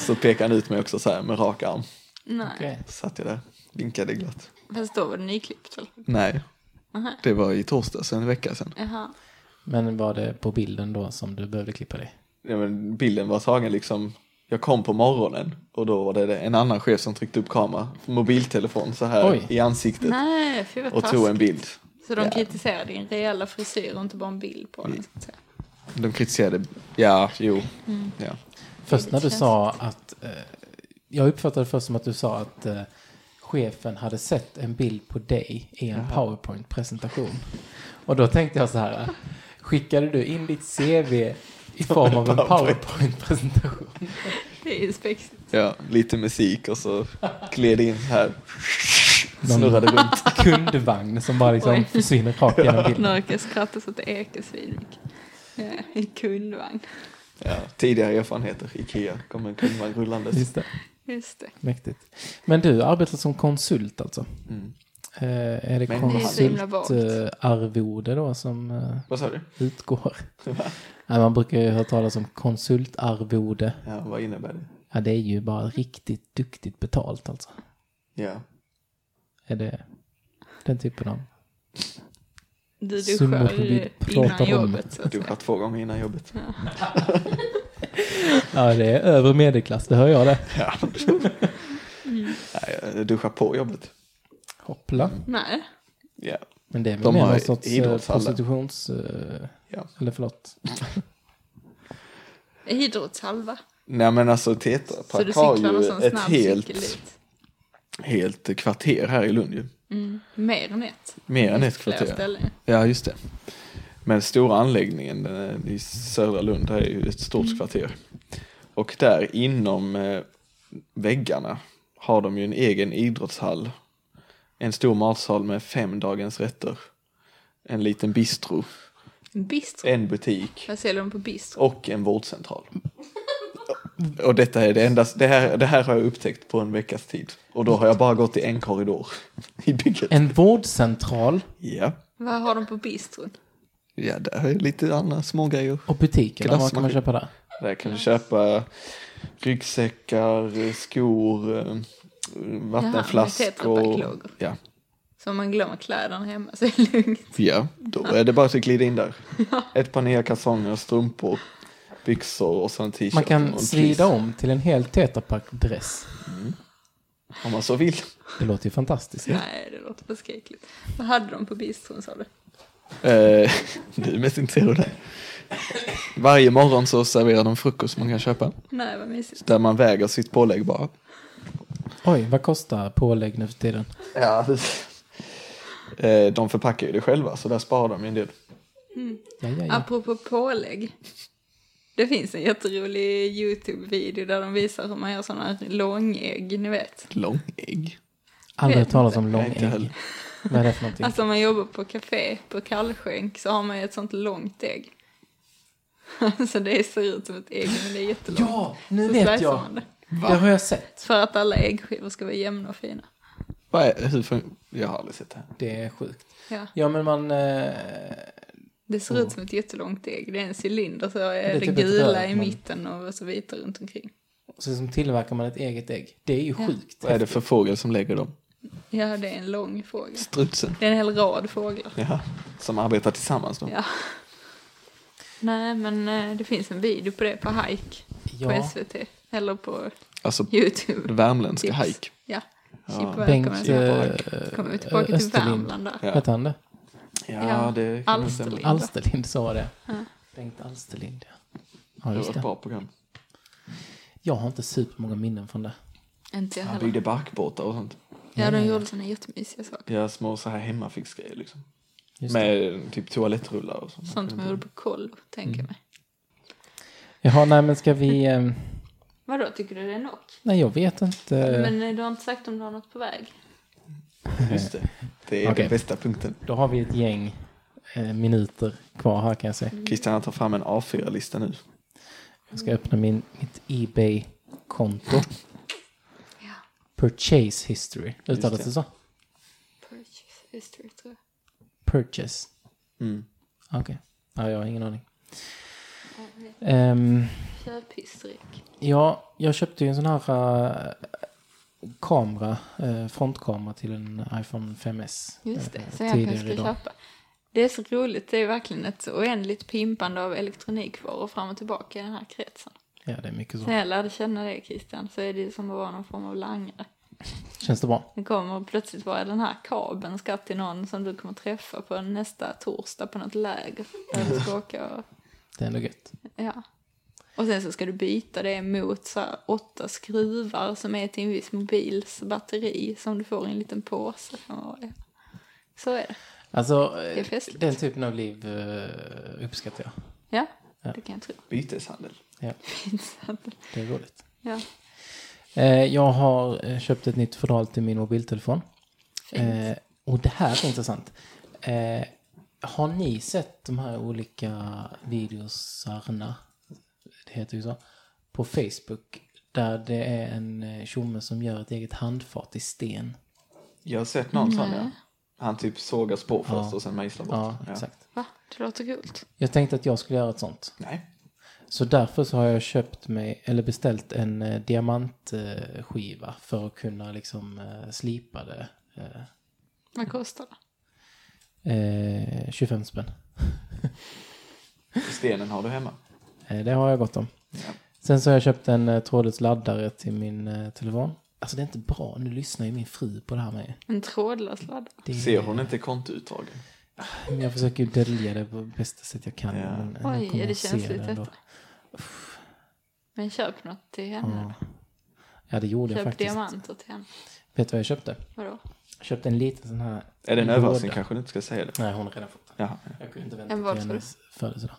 S2: Så pekade han ut mig också så här med rak arm.
S3: nej.
S1: Okej.
S2: Så satt jag där, vinkade glatt.
S3: Fast då var det nyklippt väl?
S2: Nej,
S3: Aha.
S2: det var i torsdags, en vecka sedan.
S3: Jaha.
S1: Men var det på bilden då som du behövde klippa dig?
S2: Ja, men bilden var tagen liksom, jag kom på morgonen och då var det det- en annan chef som tryckte upp kamera, mobiltelefon så här
S1: Oj.
S2: i ansiktet
S3: Nej, fy vad
S2: och tog en
S3: taskigt.
S2: bild.
S3: Så de
S2: Ja.
S3: kritiserar din reella frisyr och inte bara en bild på den. så att säga.
S2: De kritiserade, ja, jo.
S3: Mm.
S2: Ja.
S1: Först när du
S3: känns-
S1: sa att... Eh, jag uppfattade först som att du sa att eh, chefen hade sett en bild på dig i en powerpoint-presentation. Och då tänkte jag så här. eh, Skickade du in ditt CV i form
S2: [laughs]
S1: av en powerpoint-presentation?
S3: Det är ju spexigt.
S2: ja, lite musik och så gled in så här, snurrade runt.
S1: [laughs] Kundvagn som bara liksom
S3: Oj.
S1: försvinner rakt genom
S3: Nu
S1: bilden.
S3: orkar jag skratta så att det ekar svinmycket. Ja, I kundvagn.
S2: Ja, tidigare erfarenheter, Ikea, kom en kundvagn rullandes.
S1: Just det.
S3: Just det.
S1: Mäktigt. Men du arbetar som konsult alltså?
S2: Mm.
S1: Eh, är det
S2: Men det är så
S3: himla vagt.
S1: konsultarvode då som eh,
S2: Vad sa du? [laughs]
S1: utgår? Nej, man brukar ju höra talas om konsultarvode.
S2: Ja, vad innebär det?
S1: Ja, det är ju bara riktigt duktigt betalt alltså.
S2: Ja,
S1: Är det den typen av...
S3: Du
S1: Summor
S3: duschar
S1: vi
S3: eh,
S1: pratar
S3: innan
S1: om.
S3: jobbet så att
S2: duschat
S3: säga.
S2: två gånger innan jobbet.
S3: Mm.
S1: Ja, det är övre medelklass, det hör jag det.
S3: [laughs]
S2: Ja.
S3: Mm.
S2: Nej, jag duschar på jobbet.
S1: Hoppla.
S3: Nej,
S2: Ja,
S1: Men det är väl
S2: De
S1: mer
S2: har
S1: någon sorts eh,
S2: idrottshallar.
S1: prostitutions... eh,
S2: ja.
S1: Eller förlåt.
S3: idrottshalva.
S2: Nej men alltså Tetra
S3: Så du
S2: Pak har
S3: cyklar
S2: ju
S3: någon sån
S2: ett
S3: snabb cykel
S2: helt,
S3: dit.
S2: helt kvarter här i Lund ju.
S3: Mer än ett.
S2: Mer än ett
S3: Flera
S2: kvarter.
S3: ställen.
S2: Ja, just det. Men stora anläggningen eh, i södra Lund här är ju ett stort kvarter. Och där inom eh, väggarna har de ju en egen idrottshall. En stor matsal med fem dagens rätter. En liten bistro.
S3: Bistro.
S2: En butik.
S3: Vad säljer de på bistro?
S2: Och en vårdcentral. Och detta är det enda, det här, det här har jag upptäckt på en veckas tid. Och då har jag bara gått i en korridor i bygget.
S1: En vårdcentral
S2: Ja,
S3: Vad har de på bistron?
S2: ja det är lite andra små grejer.
S1: och butiker. Vad kan man
S2: Glassmaskin.
S1: köpa där?
S2: Där kan du köpa ryggsäckar, skor, eh,
S3: Jaha, med
S2: vattenflaskor.
S3: tetrapacklådor.
S2: ja.
S3: Så om man glömmer kläderna hemma så är det lugnt.
S2: ja, då är det bara att glida in där. Ett par nya kalsonger, strumpor, byxor och så en t-shirt.
S1: Man
S2: och en
S1: kan
S2: fleece,
S1: svida om till en hel Tetrapack-dress.
S2: Om man så vill.
S1: Det låter ju fantastiskt.
S3: Nej, det låter förskräckligt. Vad hade de på bistron sa du?
S2: Eh, du är mest intresserad av det. Varje morgon så serverar de frukost man kan köpa.
S3: Nej, vad mysigt.
S2: Där man väger sitt pålägg bara.
S1: Oj, vad kostar pålägg nu för tiden?
S2: Ja, eh, de förpackar ju det själva så där sparar de ju en del.
S1: Ja, ja, ja.
S3: Apropå pålägg. Det finns en jätterolig YouTube-video där de visar hur man gör sådana här långägg, ni vet.
S2: Långägg.
S1: Aldrig hört talas om
S2: Nej, inte
S1: långägg.
S2: heller.
S1: Vad är det för någonting?
S3: Alltså om man jobbar på café på kallskänk så har man ju ett sånt långt ägg. [laughs] Alltså det ser ut som ett ägg men det är jättelångt.
S1: Ja, nu
S3: så
S1: vet
S3: slicear
S1: jag.
S3: man det.
S1: Det har jag sett.
S3: För att alla äggskivor ska vara jämna och fina.
S2: Vad är, hur fun- jag har aldrig sett det här.
S1: Det är sjukt.
S3: Ja.
S1: Ja, men man... Eh,
S3: Det ser ut som ett jättelångt ägg. Det är en cylinder så
S1: är
S3: är det,
S1: typ ett
S3: gula
S1: rör,
S3: i
S1: men-
S3: mitten och så vita runt omkring.
S1: så liksom tillverkar man ett eget ägg. Det är ju sjukt.
S2: Vad är det för fågel som lägger dem?
S3: Ja, det är en lång fågel.
S2: Strutsen.
S3: Det är en hel rad fåglar.
S2: Ja, som arbetar tillsammans då.
S3: Ja. Nej, men eh, det finns en video på det på Hike på
S1: Ja,
S3: SVT. Eller på
S2: Alltså
S3: YouTube.
S2: värmländska
S3: Tips.
S2: hajk.
S3: Ja.
S2: Ja.
S3: Chip
S1: Bengt
S3: välkommen
S1: eh,
S3: tillbaka. Kommer vi tillbaka till
S1: Österlind.
S3: Värmland där.
S2: Ja.
S1: Hette han det?
S2: Ja, det kan nog stämma.
S3: Alsterlind.
S1: Alsterlind så var det. Bengt Alsterlind, ja. Ja,
S2: Det
S1: just
S2: var ett
S1: det.
S2: bra program.
S1: Jag har inte supermånga minnen från det.
S3: Inte jag
S2: Han
S3: heller.
S2: byggde Mm. barkbåtar och sånt.
S3: Ja, de gjorde såna jättemysiga saker.
S2: Ja, små så här hemmafixgrejer liksom.
S1: Just det.
S2: Med typ toalettrullar och sånt.
S3: Sånt man gjorde på kollo, tänker
S1: Mm.
S3: jag mig.
S1: Jaha, nej men ska vi... Eh,
S3: Vadå, tycker du det är nog?
S1: nej, jag vet inte.
S3: Men eh, du har inte sagt om du har något på väg?
S2: Just det. Det är
S1: Okej.
S2: den bästa punkten.
S1: Då har vi ett gäng eh, minuter kvar här kan jag säga.
S3: Mm.
S2: Christian tar fram en A4-lista nu.
S1: Jag ska öppna min, mitt Ebay-konto. Purchase history. Uttalas
S2: det.
S1: det så?
S3: Purchase history, tror jag.
S1: Purchase.
S2: Mm.
S1: Okej. Ja, jag har ingen aning. Ehm,
S3: Köphistorik.
S1: ja, jag köpte ju en sån här eh, kamera, eh, frontkamera till en iPhone 5S.
S3: Just
S1: eh,
S3: det, så jag kanske ska
S1: tidigare idag.
S3: köpa. Det är så roligt, det är verkligen ett så oändligt pimpande av elektronikvaror fram och tillbaka i den här kretsen.
S1: Ja, det är mycket
S3: När
S1: så.
S3: jag lärde känna dig Christian så är det ju som att vara någon form av langare.
S1: Känns det bra?
S3: Det kommer plötsligt vara den här kabeln ska till någon som du kommer träffa på nästa torsdag på något läger. Där du ska åka och,
S1: Det är ändå gött.
S3: ja. Och sen så ska du byta det mot så här åtta skruvar som är till en viss mobils batteri som du får i en liten påse. från varje. Så är det.
S1: Alltså,
S3: Det är
S1: eh,
S3: festligt.
S1: den typen av liv eh, uppskattar jag.
S3: Ja, det kan jag tro. [laughs]
S2: Byteshandel.
S1: Ja,
S3: Pinsamt.
S1: det är roligt.
S3: Ja,
S1: Eh, Jag har eh, köpt ett nytt fodral till min mobiltelefon.
S3: fint.
S1: Eh, och det här är intressant. Eh, har ni sett de här olika videosarna? Det heter ju så. På Facebook. Där det är en eh, tjomme som gör ett eget handfat i sten.
S2: Jag har sett någon sån, ja. Han typ sågas på först och sen mejslar bort.
S1: Ja,
S2: Ja.
S1: exakt.
S3: Va? Det låter coolt.
S1: Jag tänkte att jag skulle göra ett sånt.
S2: Nej.
S1: Så därför så har jag köpt mig, eller beställt en eh, diamantskiva för att kunna liksom eh, slipa det. Eh,
S3: Vad kostar det?
S1: Eh, 25 spänn.
S2: Stenen har du hemma.
S1: Eh, det har jag gott om. Sen så har jag köpt en eh, trådlös laddare till min eh, telefon. Alltså det är inte bra, nu lyssnar ju min fru på det här med.
S3: En trådlös ladd.
S1: Det,
S2: Ser hon inte kontoutdragen?
S1: Men Jag försöker ju dölja det på bästa sätt jag kan.
S2: Ja.
S1: men hon
S3: Oj,
S1: kommer
S3: är det
S1: att se
S3: känsligt
S1: det ändå.
S3: detta? Men köp något till henne.
S1: Ja, det gjorde jag
S3: köp
S1: faktiskt.
S3: diamanter till henne.
S1: Vet du vad jag köpte?
S3: Vadå?
S1: Jag köpte en liten sån här...
S2: Är det en
S1: låda.
S2: överraskning kanske du inte ska säga det?
S1: Nej, hon har redan fått den.
S2: Jaha.
S1: Jag kunde inte
S3: En
S1: vänta
S3: vad,
S1: till
S3: sa
S1: hennes födelsedag.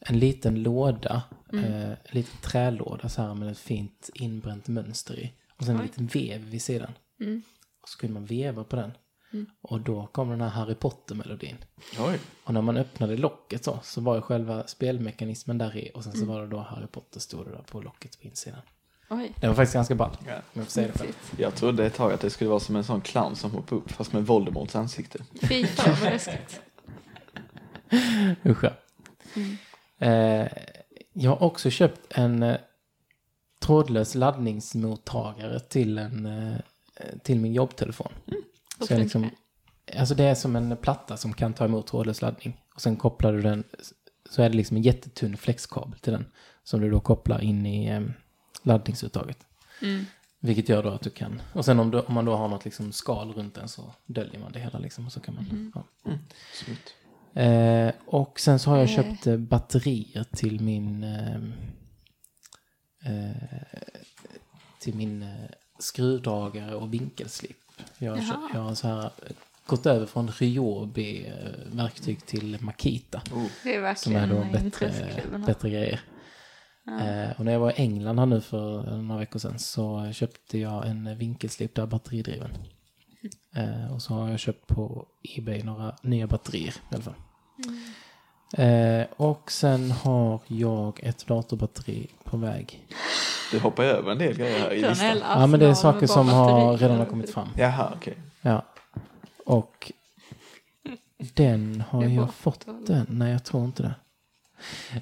S1: En liten låda, eh, en liten trälåda så här med ett fint inbränt mönster i. Och sen en liten vev vid sidan. Och så kunde man veva på den. Och då kom den här Harry Potter-melodin.
S2: Oj.
S1: Och när man öppnade locket så, så var ju själva spelmekanismen där i. Och sen så var det då Harry Potter stod det där på locket på insidan.
S3: Oj.
S1: Det var faktiskt ganska ball.
S2: Ja.
S1: Om jag får säga det själv.
S2: Jag trodde ett tag att det skulle vara som en sån clown som hoppar upp fast med Voldemorts ansikte.
S3: Fy fan vad läskigt.
S1: Usch ja. Eh, jag har också köpt en eh, trådlös laddningsmottagare till, en, eh, till min jobbtelefon. [laughs]
S3: Vad
S1: Så jag
S3: fint.
S1: liksom, alltså det är som en platta som kan ta emot trådlös laddning. Och sen kopplar du den, så är det liksom en jättetunn flexkabel till den. Som du då kopplar in i eh, laddningsuttaget.
S3: Mm.
S1: Vilket gör då att du kan, och sen om, du, om man då har något liksom skal runt den så döljer man det hela liksom. Och så kan man, ja.
S2: Snyggt.
S1: Eh, och sen så har jag köpt eh, batterier till min ehm, eh, till min eh, skruvdragare och vinkelslip. Jag har,
S3: Jaha.
S1: köpt, jag har så här, eh, gått över från Ryobi eh, verktyg till Makita.
S2: Oh.
S3: Det är
S1: Som
S3: verkligen
S1: är då
S3: en
S1: bättre,
S3: tröskelklubben.
S1: bättre grejer. Eh, och när jag var i England här nu för några veckor sedan så köpte jag en vinkelslip där batteridriven. Eh, och så har jag köpt på Ebay några nya batterier i alla fall. Eh, och sen har jag ett datorbatteri på väg.
S2: Du hoppar över en del grejer här i
S3: Det är en hel
S2: listan.
S1: Ja men det är
S3: arsenal
S1: saker
S3: med
S1: som
S3: bara
S1: har,
S3: batterier.
S1: redan har kommit fram.
S2: Jaha, okej.
S1: Ja. Och den har
S3: Det är
S1: jag
S3: borta,
S1: fått
S3: eller?
S1: den. Nej, jag tror inte det.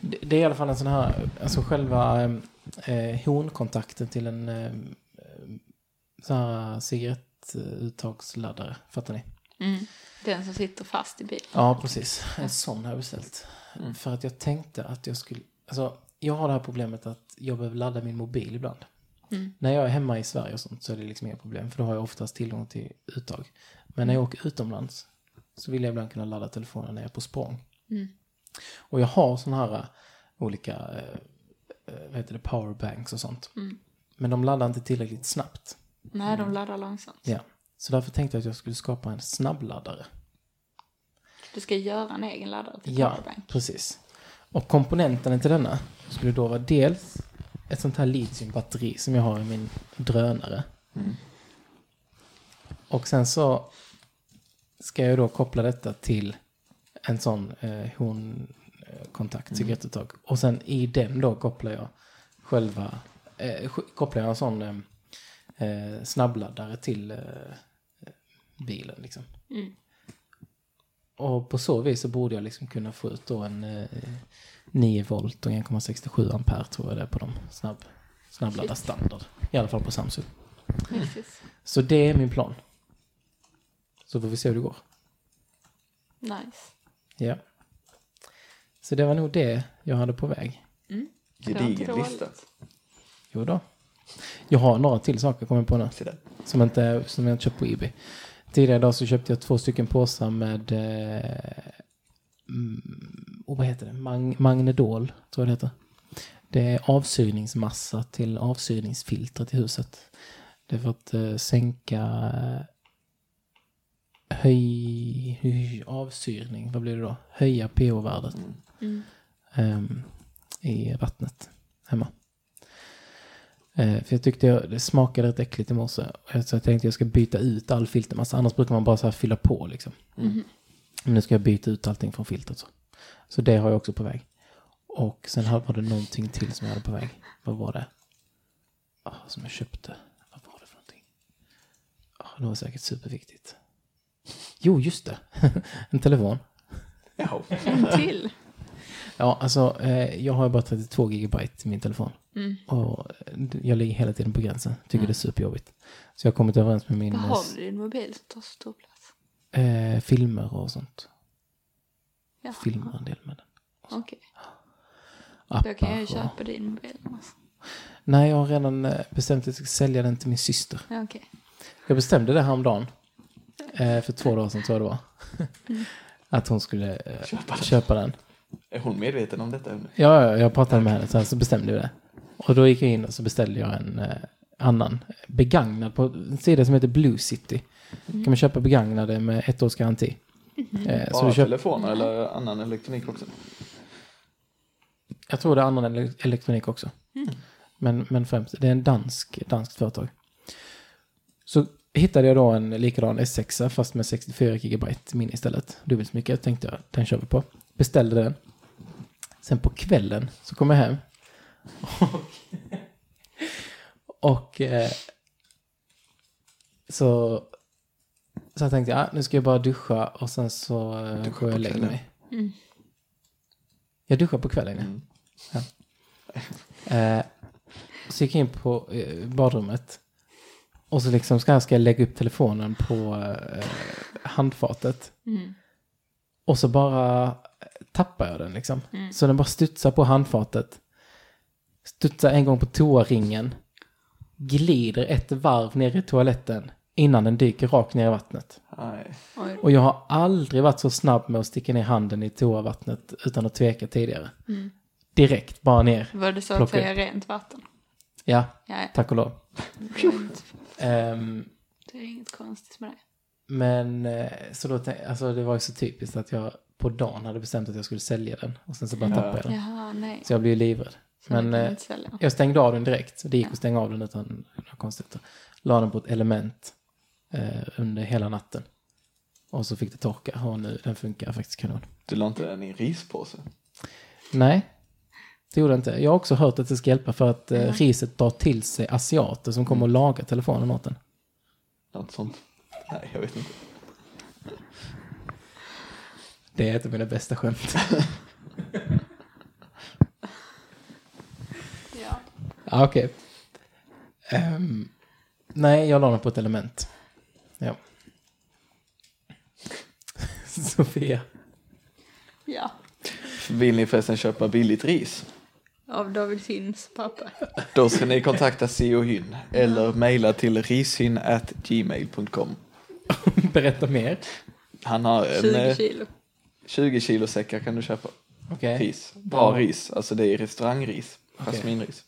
S1: Det, det är i alla fall en sån här, alltså själva eh, honkontakten till en eh, eh, sån här cigarettuttagsladdare. Fattar ni?
S3: Mm. Den som sitter fast i bilen.
S1: Ja, precis. Mm. En sån har jag beställt. För att jag tänkte att jag skulle... Alltså, jag har det här problemet att jag behöver ladda min mobil ibland.
S3: Mm.
S1: När jag är hemma i Sverige och sånt så är det liksom inga problem. För då har jag oftast tillgång till uttag. Men när jag åker utomlands så vill jag ibland kunna ladda telefonen när jag är på språng. Och jag har såna här äh, olika, eh, eh, vad heter det, powerbanks och sånt. Men de laddar inte tillräckligt snabbt.
S3: Nej, de laddar långsamt.
S1: Mm. Ja. Så därför tänkte jag att jag skulle skapa en snabbladdare.
S3: Du ska göra en egen laddare till
S1: Ja,
S3: powerbank.
S1: precis. Och komponenterna till denna skulle då vara dels ett sånt här litiumbatteri som jag har i min drönare. Och sen så ska jag då koppla detta till en sån eh, honkontakt, cigarettuttag. Och sen i den då kopplar jag själva, eh, sk- kopplar jag en sån eh, eh, snabbladdare till eh, bilen liksom.
S3: Mm.
S1: Och på så vis så borde jag liksom kunna få ut då en eh, 9 volt och 1,67 ampere tror jag det är på de snabb, snabbladda standard. I alla fall på Samsung.
S3: Precis.
S1: Så det är min plan. Så får vi se hur det går.
S3: Nice.
S1: Ja. Så det var nog det jag hade på väg.
S3: Det var inte
S2: Gedigen
S3: dåligt.
S2: lista.
S1: Jo då. Jag har några till saker kommer jag på nu.
S2: Se där.
S1: Som, inte, som jag inte köpt på Ebay. Tidigare idag så köpte jag två stycken påsar med... Eh, mm, oh, vad heter det? Mag Magnedol, tror jag det heter. Det är avsyrningsmassa till avsyrningsfilter till huset. Det är för att eh, sänka... Eh, höj, höj... Avsyrning, vad blir det då? Höja pH-värdet.
S3: Mm.
S1: Ehm, I vattnet hemma. Eh, För jag tyckte jag, det smakade rätt äckligt i morse. Eh, Så jag tänkte jag ska byta ut all filtermassa. Annars brukar man bara så här fylla på liksom. Men nu ska jag byta ut allting från filtret. Så, så det har jag också på väg. Och sen här var det någonting till som jag hade på väg. Vad var det? Ah, som jag köpte. Vad var det för någonting? Ah, det var säkert superviktigt. Jo, just det. [laughs] en telefon.
S2: Jaha.
S3: En
S1: [laughs]
S3: till.
S1: Ja, alltså eh, jag har bara 32 gigabyte i min telefon.
S3: Mm.
S1: Och eh, jag ligger hela tiden på gränsen. Tycker det är superjobbigt. Så jag har kommit överens med min... eh,
S3: Behåll din mobil som tar så stor plats.
S1: Eh, filmer och sånt.
S3: Ja.
S1: Filmar en del med den.
S3: Okej.
S1: Appar
S3: Då kan jag ju
S1: och-
S3: köpa din mobil. Alltså.
S1: Nej, jag har redan eh, bestämt att jag ska sälja den till min syster.
S3: Ja, okej.
S1: Jag bestämde det häromdagen. Eh, för två dagar sedan tror jag det var.
S3: Mm.
S1: [laughs] att hon skulle eh, köpa, den.
S2: Är hon medveten om detta nu?
S1: Ja, ja, jag pratade med henne sen så bestämde vi det. Och då gick jag in och så beställde jag en eh, annan begagnad på en sida som heter Blue City. kan man köpa begagnade med ett års garanti. Eh, så
S2: Bara
S1: du köper,
S2: telefoner eller annan elektronik också?
S1: jag tror det är annan ele- elektronik också. Men, men främst, det är en dansk, danskt företag. Så hittade jag då en likadan S6 fast med 64 GB minne istället. Dubbelt så mycket tänkte jag, den kör vi på. Beställde den. Sen på kvällen så kom jag hem. Och, och eh, så, så jag tänkte jag, ah, nu ska jag bara duscha och sen så eh,
S2: Duscha
S1: går jag
S2: på
S1: och lägger
S2: kvällen.
S1: mig.
S3: Mm.
S1: Jag duschar på kvällen, ja.
S2: Mm.
S1: Eh, så gick jag in på eh, badrummet. Och så liksom ska, ska jag lägga upp telefonen på eh, handfatet.
S3: Mm.
S1: Och så bara eh, tappar jag den liksom. Så den bara studsar på handfatet. Studsar en gång på toaringen. Glider ett varv ner i toaletten innan den dyker rakt ner i vattnet.
S2: Nej.
S3: Oj.
S1: Och jag har aldrig varit så snabb med att sticka ner handen i toavattnet utan att tveka tidigare.
S3: Mm.
S1: Direkt bara ner.
S3: Var det så att
S1: Plocka
S3: säga rent vatten?
S1: Ja,
S3: Ja, ja.
S1: tack och lov. Ehm,
S3: det är inget konstigt med det.
S1: Men eh, så då tänkte, alltså det var ju så typiskt att jag på dagen hade bestämt att jag skulle sälja den och sen så bara
S2: Ja.
S1: tappade jag den.
S3: Jaha, nej.
S1: Så jag blev ju livrädd.
S3: Så
S1: Men
S3: man kan
S1: eh,
S3: inte sälja.
S1: jag stängde av den direkt. Så det gick att stänga av den utan några konstigheter. La den på ett element eh, under hela natten. Och så fick det torka och nu den funkar faktiskt kanon.
S2: Du la inte den i en rispåse?
S1: Nej, det gjorde det inte. Jag har också hört att det ska hjälpa för att eh, riset drar till sig asiater som kommer och lagar telefonen åt den.
S2: Något sånt? Nej, jag vet inte.
S1: Det är ett av mina bästa skämt.
S3: Ja.
S1: Ja, Ah, okej. Ehm, nej, jag la den på ett element. Ja. [laughs] Sofia. [laughs]
S3: ja.
S2: Vill ni förresten köpa billigt ris?
S3: Av David Finns pappa.
S2: Då ska ni kontakta CO Hyn eller mejla till rishyn@gmail.com.
S1: Berätta mer.
S2: Han har en
S3: 20
S2: eh,
S3: kilo.
S2: 20 kilo säckar kan du köpa.
S1: Okej.
S2: Ris. Bra ris. Alltså det är restaurangris. Jasminris.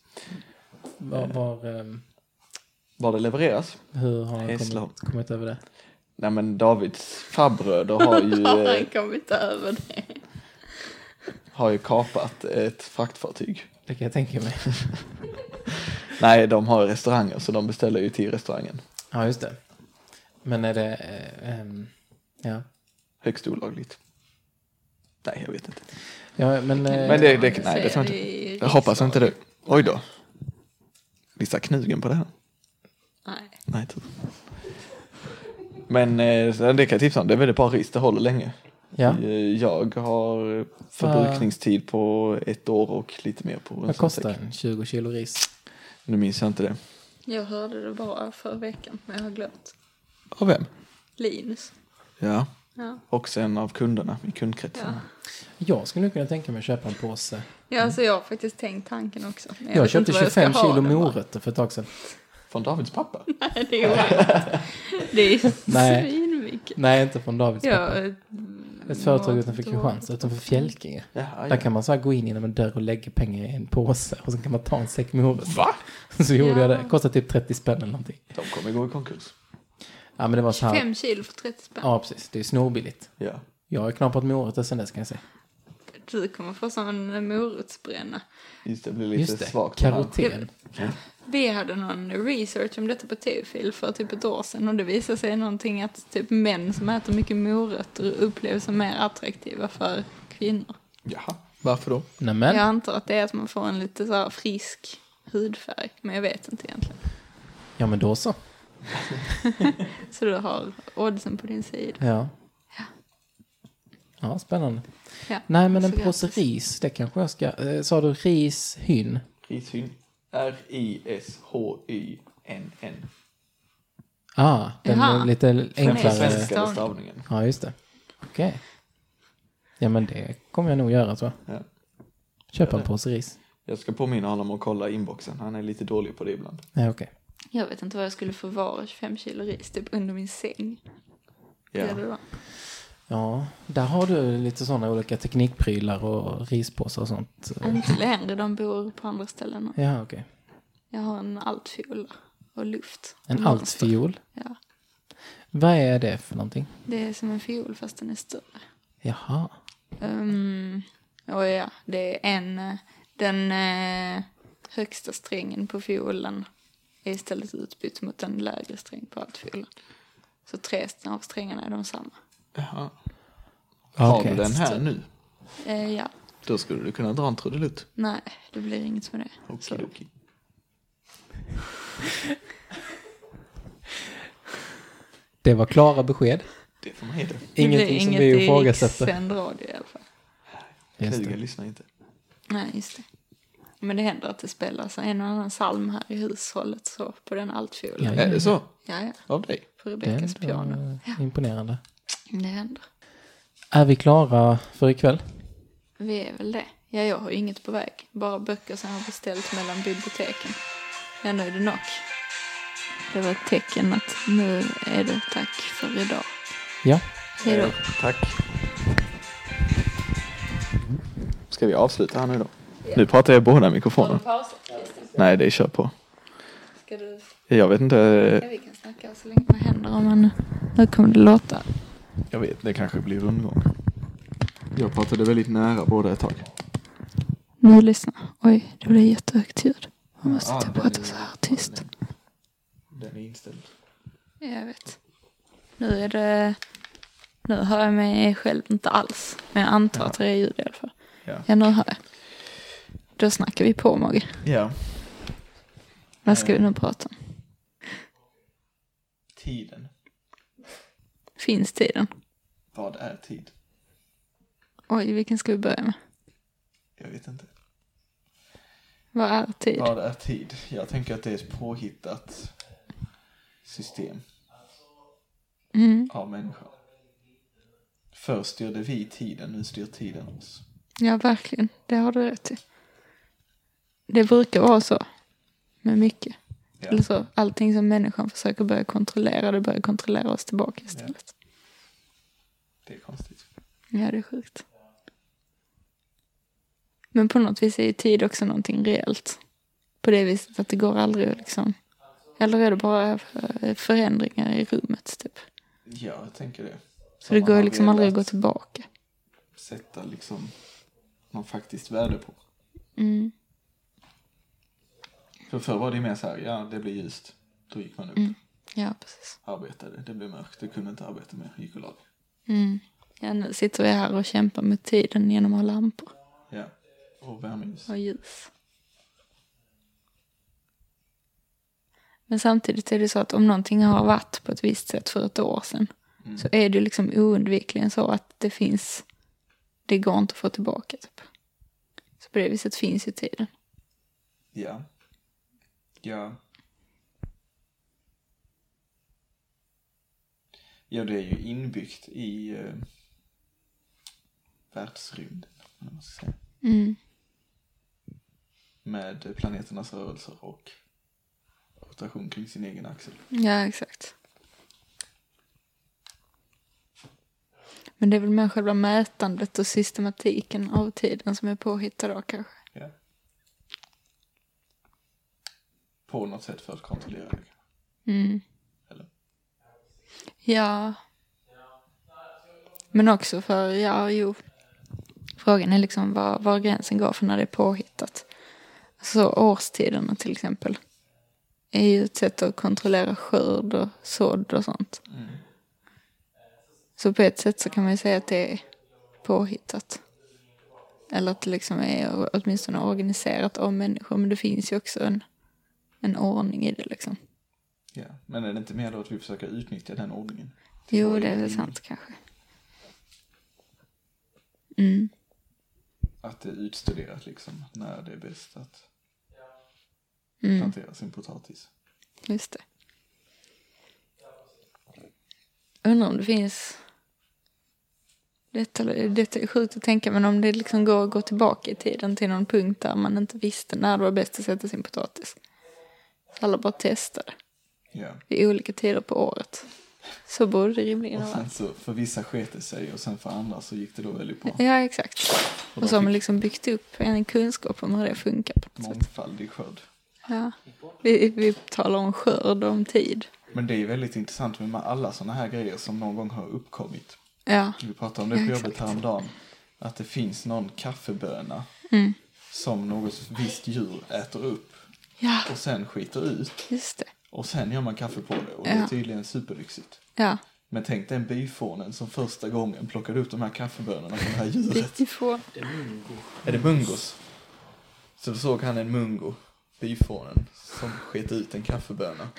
S1: Var, var, ehm,
S2: Var det levereras?
S1: hur har han
S2: Hässleholm.
S1: kommit, kommit över det?
S2: Nej men Davids farbröder har [laughs] ju,
S3: Har
S2: eh,
S3: [laughs] han kommit över det?
S2: har ju kapat ett fraktfartyg.
S1: Det kan jag tänka mig. [laughs]
S2: Nej, de har restauranger så de beställer ju till restaurangen.
S1: ja, just det. Men är det... eh, ehm, ja.
S2: Högst olagligt. Nej, jag vet inte.
S1: ja, men... eh,
S2: Men det, det,
S3: man
S2: nej, det
S3: säger
S2: tror jag
S3: det i
S2: inte. Jag hoppas inte det. Oj då. Vissa knugen på det här.
S3: Nej.
S2: Nej, tur. Men eh, så det kan jag tipsa om. Det är väldigt bra ris. Det håller länge.
S1: Ja.
S2: Eh, Jag har förbrukningstid på ett år och lite mer på en
S1: Vad
S2: sån
S1: kostar
S2: säck.
S1: den? 20 kilo ris?
S2: Nu minns jag inte det.
S3: Jag hörde det bara förra veckan, men jag har glömt.
S2: Av vem?
S3: Linus.
S2: Ja,
S3: Ja.
S2: också en av kunderna i kundkretsen.
S3: Ja.
S1: Jag skulle nu kunna tänka mig att köpa en påse.
S3: ja, alltså jag har faktiskt tänkt tanken också. men
S1: Jag,
S3: vet
S1: köpte
S3: inte vad
S1: 25
S3: ska ha
S1: kilo
S3: den bara.
S1: morötter för ett tag sedan.
S2: Från Davids pappa?
S3: [laughs] Nej, det är omöjligt. Det är
S1: [laughs] Nej.
S3: svinmycket.
S1: Nej, inte från Davids pappa.
S3: Ja, eh,
S1: Ett företag utanför Kristianstad, utanför Fjälkinge.
S2: Ja,
S1: Där kan man så här gå in genom en dörr och lägga pengar i en påse och sen kan man ta en säck med huvudet.
S2: Va?
S1: [laughs] Så gjorde
S3: Ja.
S1: jag det. Kostade typ 30 spänn eller någonting.
S2: De kommer gå i konkurs.
S1: Ja men det var så här.
S3: 5 kilo för 30 spänn.
S1: Ja precis, det är snorbilligt.
S2: Ja.
S1: Jag har knappat med året sen dess kan jag säga.
S3: Du kommer få sån morotsbränna.
S2: Just det, det blir lite
S1: Just det,
S2: svagt. på hand.
S1: karoten.
S3: Vi hade någon research om detta på Teofil för typ ett år sedan och det visade sig någonting att typ män som äter mycket morötter upplevs som mer attraktiva för kvinnor.
S2: Jaha, varför då?
S1: Nämen,
S3: Jag antar att det är att man får en lite så här frisk hudfärg, men jag vet inte egentligen.
S1: ja men då så.
S3: Så du har oddsen på din sida.
S1: Ja. Ja, spännande.
S3: Ja.
S1: Nej men en
S3: Så
S1: påse
S3: grattis.
S1: ris, det kanske jag ska... Eh, sa du ris, hyn?
S2: Rishyn. R-I-S-H-Y-N-N.
S1: Ah, den
S3: Jaha.
S1: är lite enklare.
S3: svensk.
S2: Svenska stavningen.
S1: Ja, just det. Okej. Ja men det kommer jag nog göra tror jag.
S2: Ja.
S1: Köpa en påse ris.
S2: Jag ska påminna honom om att kolla inboxen. Han är lite dålig på det ibland.
S1: Nej okej.
S3: Jag vet inte vad jag skulle förvara 25 kilo ris typ under min säng. Ja. Det var.
S1: Ja, där har du lite sådana olika teknikprylar och rispåsar och sånt.
S3: Inte längre, de bor på andra ställen.
S1: Ja, okej.
S3: Jag har en altfiol och luft.
S1: En
S3: Monster.
S1: altfiol.
S3: Ja.
S1: Vad är det för någonting?
S3: Det är som en fiol fast den är större.
S1: Jaha.
S3: Um, och ja, det är en, eh, den eh, högsta strängen på fiolen är istället utbytt mot en lägre sträng på altfiolen. Så tre av strängarna är de samma.
S2: Jaha. Har
S1: Okej.
S2: du den här nu?
S3: Eh, ja,
S2: Då skulle du kunna dra en trudelutt.
S3: nej, det blir inget med det. Så,
S2: Okidoki.
S1: Det var klara besked.
S2: Det får man hitta.
S3: det blir
S1: Ingenting som
S3: inget
S1: vi
S3: i
S1: ifrågasätter.
S3: rikssänd radio i alla fall.
S1: Just det.
S2: Klugen lyssnar inte.
S3: Nej, just det. Men det händer att det spelas en och annan psalm här i hushållet så på den altfiolen.
S1: Ja.
S2: Är det Eh, så?
S3: Ja, ja,
S2: Av dig?
S3: på
S1: Det är
S3: Rebeckas
S1: ändå
S3: piano. Ja,
S1: imponerande.
S3: det händer.
S1: Är vi klara för ikväll?
S3: Vi är väl det. Ja, jag har ju inget på väg. Bara böcker som jag har beställt mellan biblioteken. Ja, nu är det nog. Det var ett tecken att nu är det tack för idag.
S1: Ja.
S3: Hej då.
S2: Eh, Tack. Ska vi avsluta här nu då? Nu pratar jag i båda mikrofonerna. Nej, det är kör på.
S3: Ska du...
S2: Jag vet inte. eh,
S3: vi kan snacka så länge. Vad händer om man... Nu kommer det låta.
S2: Jag vet, det kanske blir rundgång. Jag pratade väldigt nära båda ett tag.
S3: Nu lyssna. Oj, det blev jättehögt ljud. Man måste inte prata så här tyst.
S2: Den är inställd.
S3: Ja, Jag vet. Nu är det... Nu hör jag mig själv inte alls. Men jag antar att det är ljud i alla fall.
S2: Ja.
S3: Ja, nu hör jag. Då snackar vi på, Mogge.
S2: Ja.
S3: Vad ska vi nu prata om?
S2: Tiden.
S3: Finns tiden?
S2: Vad är tid?
S3: Oj, vilken ska vi börja med?
S2: Jag vet inte.
S3: Vad är tid?
S2: Vad är tid? Jag tänker att det är ett påhittat system
S3: Mm.
S2: av människan. Förr styrde vi tiden, nu styr tiden oss.
S3: Ja, verkligen. Det har du rätt i. Det brukar vara så. Med mycket.
S2: Ja.
S3: Eller så, allting som människan försöker börja kontrollera, det börjar kontrollera oss tillbaka istället.
S2: Det är konstigt.
S3: Ja, det är sjukt. Men på något vis är ju tid också någonting reellt. På det viset att det går aldrig att liksom... Eller är det bara eh, förändringar i rummet, typ?
S2: Ja, jag tänker det.
S3: Så det
S2: man
S3: går
S2: har
S3: liksom aldrig att gå
S2: velat
S3: tillbaka.
S2: Sätta liksom någon faktiskt värde på.
S3: Mm.
S2: För förr var det mer så här, ja det blir ljust. Då gick man upp,
S3: Mm. Ja, precis.
S2: arbetade. Det blev mörkt, det kunde inte arbeta mer, gick och la dig.
S3: Mm. Ja, nu sitter vi här och kämpar med tiden genom att ha lampor
S2: Ja. Och värmeljus.
S3: och ljus. Men samtidigt är det så att om någonting har varit på ett visst sätt för ett år sedan så är det liksom oundvikligen så att det finns, det går inte att få tillbaka typ. Så på det viset finns ju tiden.
S2: Ja. Ja. Ja, det är ju inbyggt i eh, världsrymden, eller vad man ska säga.
S3: Mm.
S2: Med planeternas rörelser och rotation kring sin egen axel.
S3: Ja, exakt. Men det är väl mer själva mätandet och systematiken av tiden som är påhittad då kanske.
S2: Ja. På något sätt för att kontrollera det.
S3: Mm.
S2: Eller?
S3: Ja. Men också för, ja, jo. Frågan är liksom var, var gränsen går för när det är påhittat. Så årstiderna till exempel. Är ju ett sätt att kontrollera skörd och sådd och sånt. Så på ett sätt så kan man ju säga att det är påhittat. Eller att det liksom är åtminstone organiserat av människor. Men det finns ju också en, en ordning i det liksom.
S2: Ja. Men är det inte mer då att vi försöker utnyttja den ordningen?
S3: Jo, det är väl sant kanske. Mm.
S2: Att det är utstuderat liksom, när det är bäst att
S3: Mm,
S2: plantera sin potatis.
S3: just det. Undrar om det finns... Detta, detta är sjukt att tänka, men om det liksom går att gå tillbaka i tiden till någon punkt där man inte visste när det var bäst att sätta sin potatis. Alla bara testade
S2: Ja.
S3: vid olika tider på året. Så borde det rimligen
S2: Och
S3: ha
S2: sen
S3: varit.
S2: så, för vissa sket det sig och sen för andra så gick det då väldigt
S3: [laughs]
S2: bra.
S3: Ja, exakt. Och så har man liksom byggt upp en kunskap om hur det funkar på något sätt.
S2: Mångfaldig skörd.
S3: Ja. Vi, vi talar om skörd och om tid.
S2: Men det är ju väldigt intressant med alla sådana här grejer som någon gång har uppkommit.
S3: Ja,
S2: Vi pratade om det
S3: Ja,
S2: på
S3: exakt.
S2: jobbet häromdagen. Att
S3: Mm.
S2: det finns någon kaffeböna som något visst djur äter upp.
S3: Ja,
S2: och sen skiter ut
S3: just det.
S2: och sen gör man kaffe på det och det är
S3: Ja.
S2: tydligen superlyxigt.
S3: Ja.
S2: Men tänk den byfånen som första gången plockade upp de här kaffebönorna från det
S3: [laughs]
S2: här djuret.
S3: Riktigt få.
S2: Är det mungos? Så då såg han en mungo, byfånen, som sket ut en kaffeböna.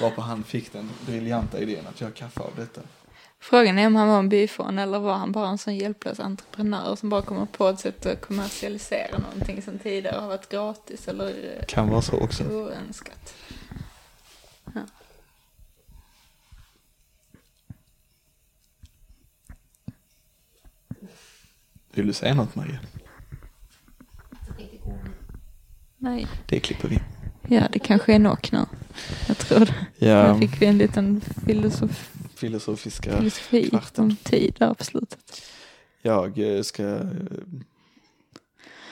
S2: Varpå han fick den briljanta idén att göra kaffe av detta.
S3: Frågan är om han var en byfån eller var han bara en sån hjälplös entreprenör som bara kommer på ett sätt att kommersialisera någonting som tidigare har varit gratis eller eh,
S2: Kan vara så också.
S3: oönskat. Ja.
S2: Vill du säga något Maria?
S3: Nej,
S2: Det klipper vi.
S3: ja det kanske är nog nu. Jag tror det.
S2: Ehm.
S3: Där fick vi en liten filosof
S2: Filosofiska.
S3: filosofi
S2: kvarten.
S3: om tid där på slutet.
S2: Jag eh, ska eh,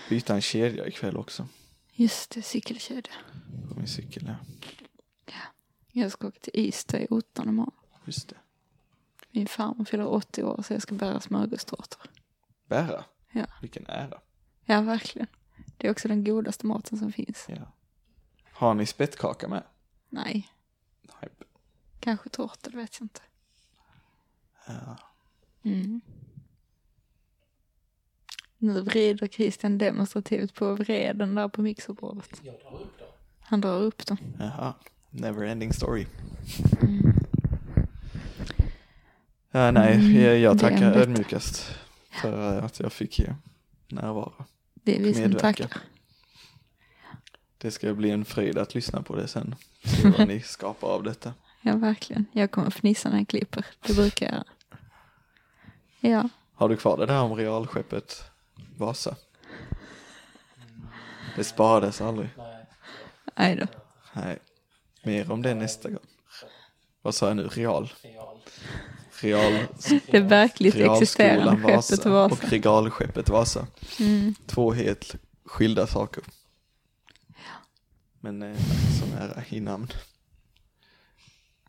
S2: byta en kedja ikväll också.
S3: Just det, cykelkedja.
S2: På min cykel, ja.
S3: Jag ska åka till Ystad i ottan imorgon.
S2: Just det.
S3: Min farmor fyller 80 år så jag ska bära smörgåstårtor.
S2: Bära.
S3: Ja.
S2: Vilken ära.
S3: Ja, verkligen. Det är också den godaste maten som finns.
S2: Ja. Har ni spettkaka med?
S3: Nej,
S2: Nej.
S3: kanske tårta, det vet jag inte.
S2: Ja.
S3: Mm. Nu vrider Christian demonstrativt på vreden där på mixerbordet.
S1: Jag drar upp dem.
S3: Han drar upp dem.
S2: Jaha. Neverending story. Ja, nej,
S3: Mm,
S2: jag, jag
S3: det är
S2: tackar
S3: en bit.
S2: ödmjukast för eh, att jag fick eh, närvara.
S3: Det är vi som
S2: Medverka.
S3: tackar.
S2: Det ska bli en fröjd att lyssna på det sen. Se vad
S3: [laughs]
S2: ni skapar av detta.
S3: Ja, verkligen. Jag kommer att fnissa när jag klipper. Det brukar jag göra. Ja,
S2: Har du kvar det där om realskeppet Vasa?
S3: Mm.
S2: Det sparades aldrig.
S1: Nej.
S3: nej då.
S2: Nej. Mer om det nästa gång. Vad sa jag nu? Real?
S1: Real.
S2: Real?
S3: Det verkligt existerande
S2: Realskolan
S3: skeppet
S2: Vasa
S3: Vasa.
S2: och
S3: Mm.
S2: regalskeppet Vasa. Två helt skilda saker. Men eh, så nära i namn.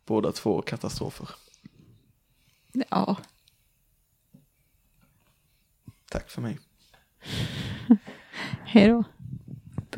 S2: Båda två katastrofer.
S3: Ja,
S2: Tack för mig.
S3: hej då.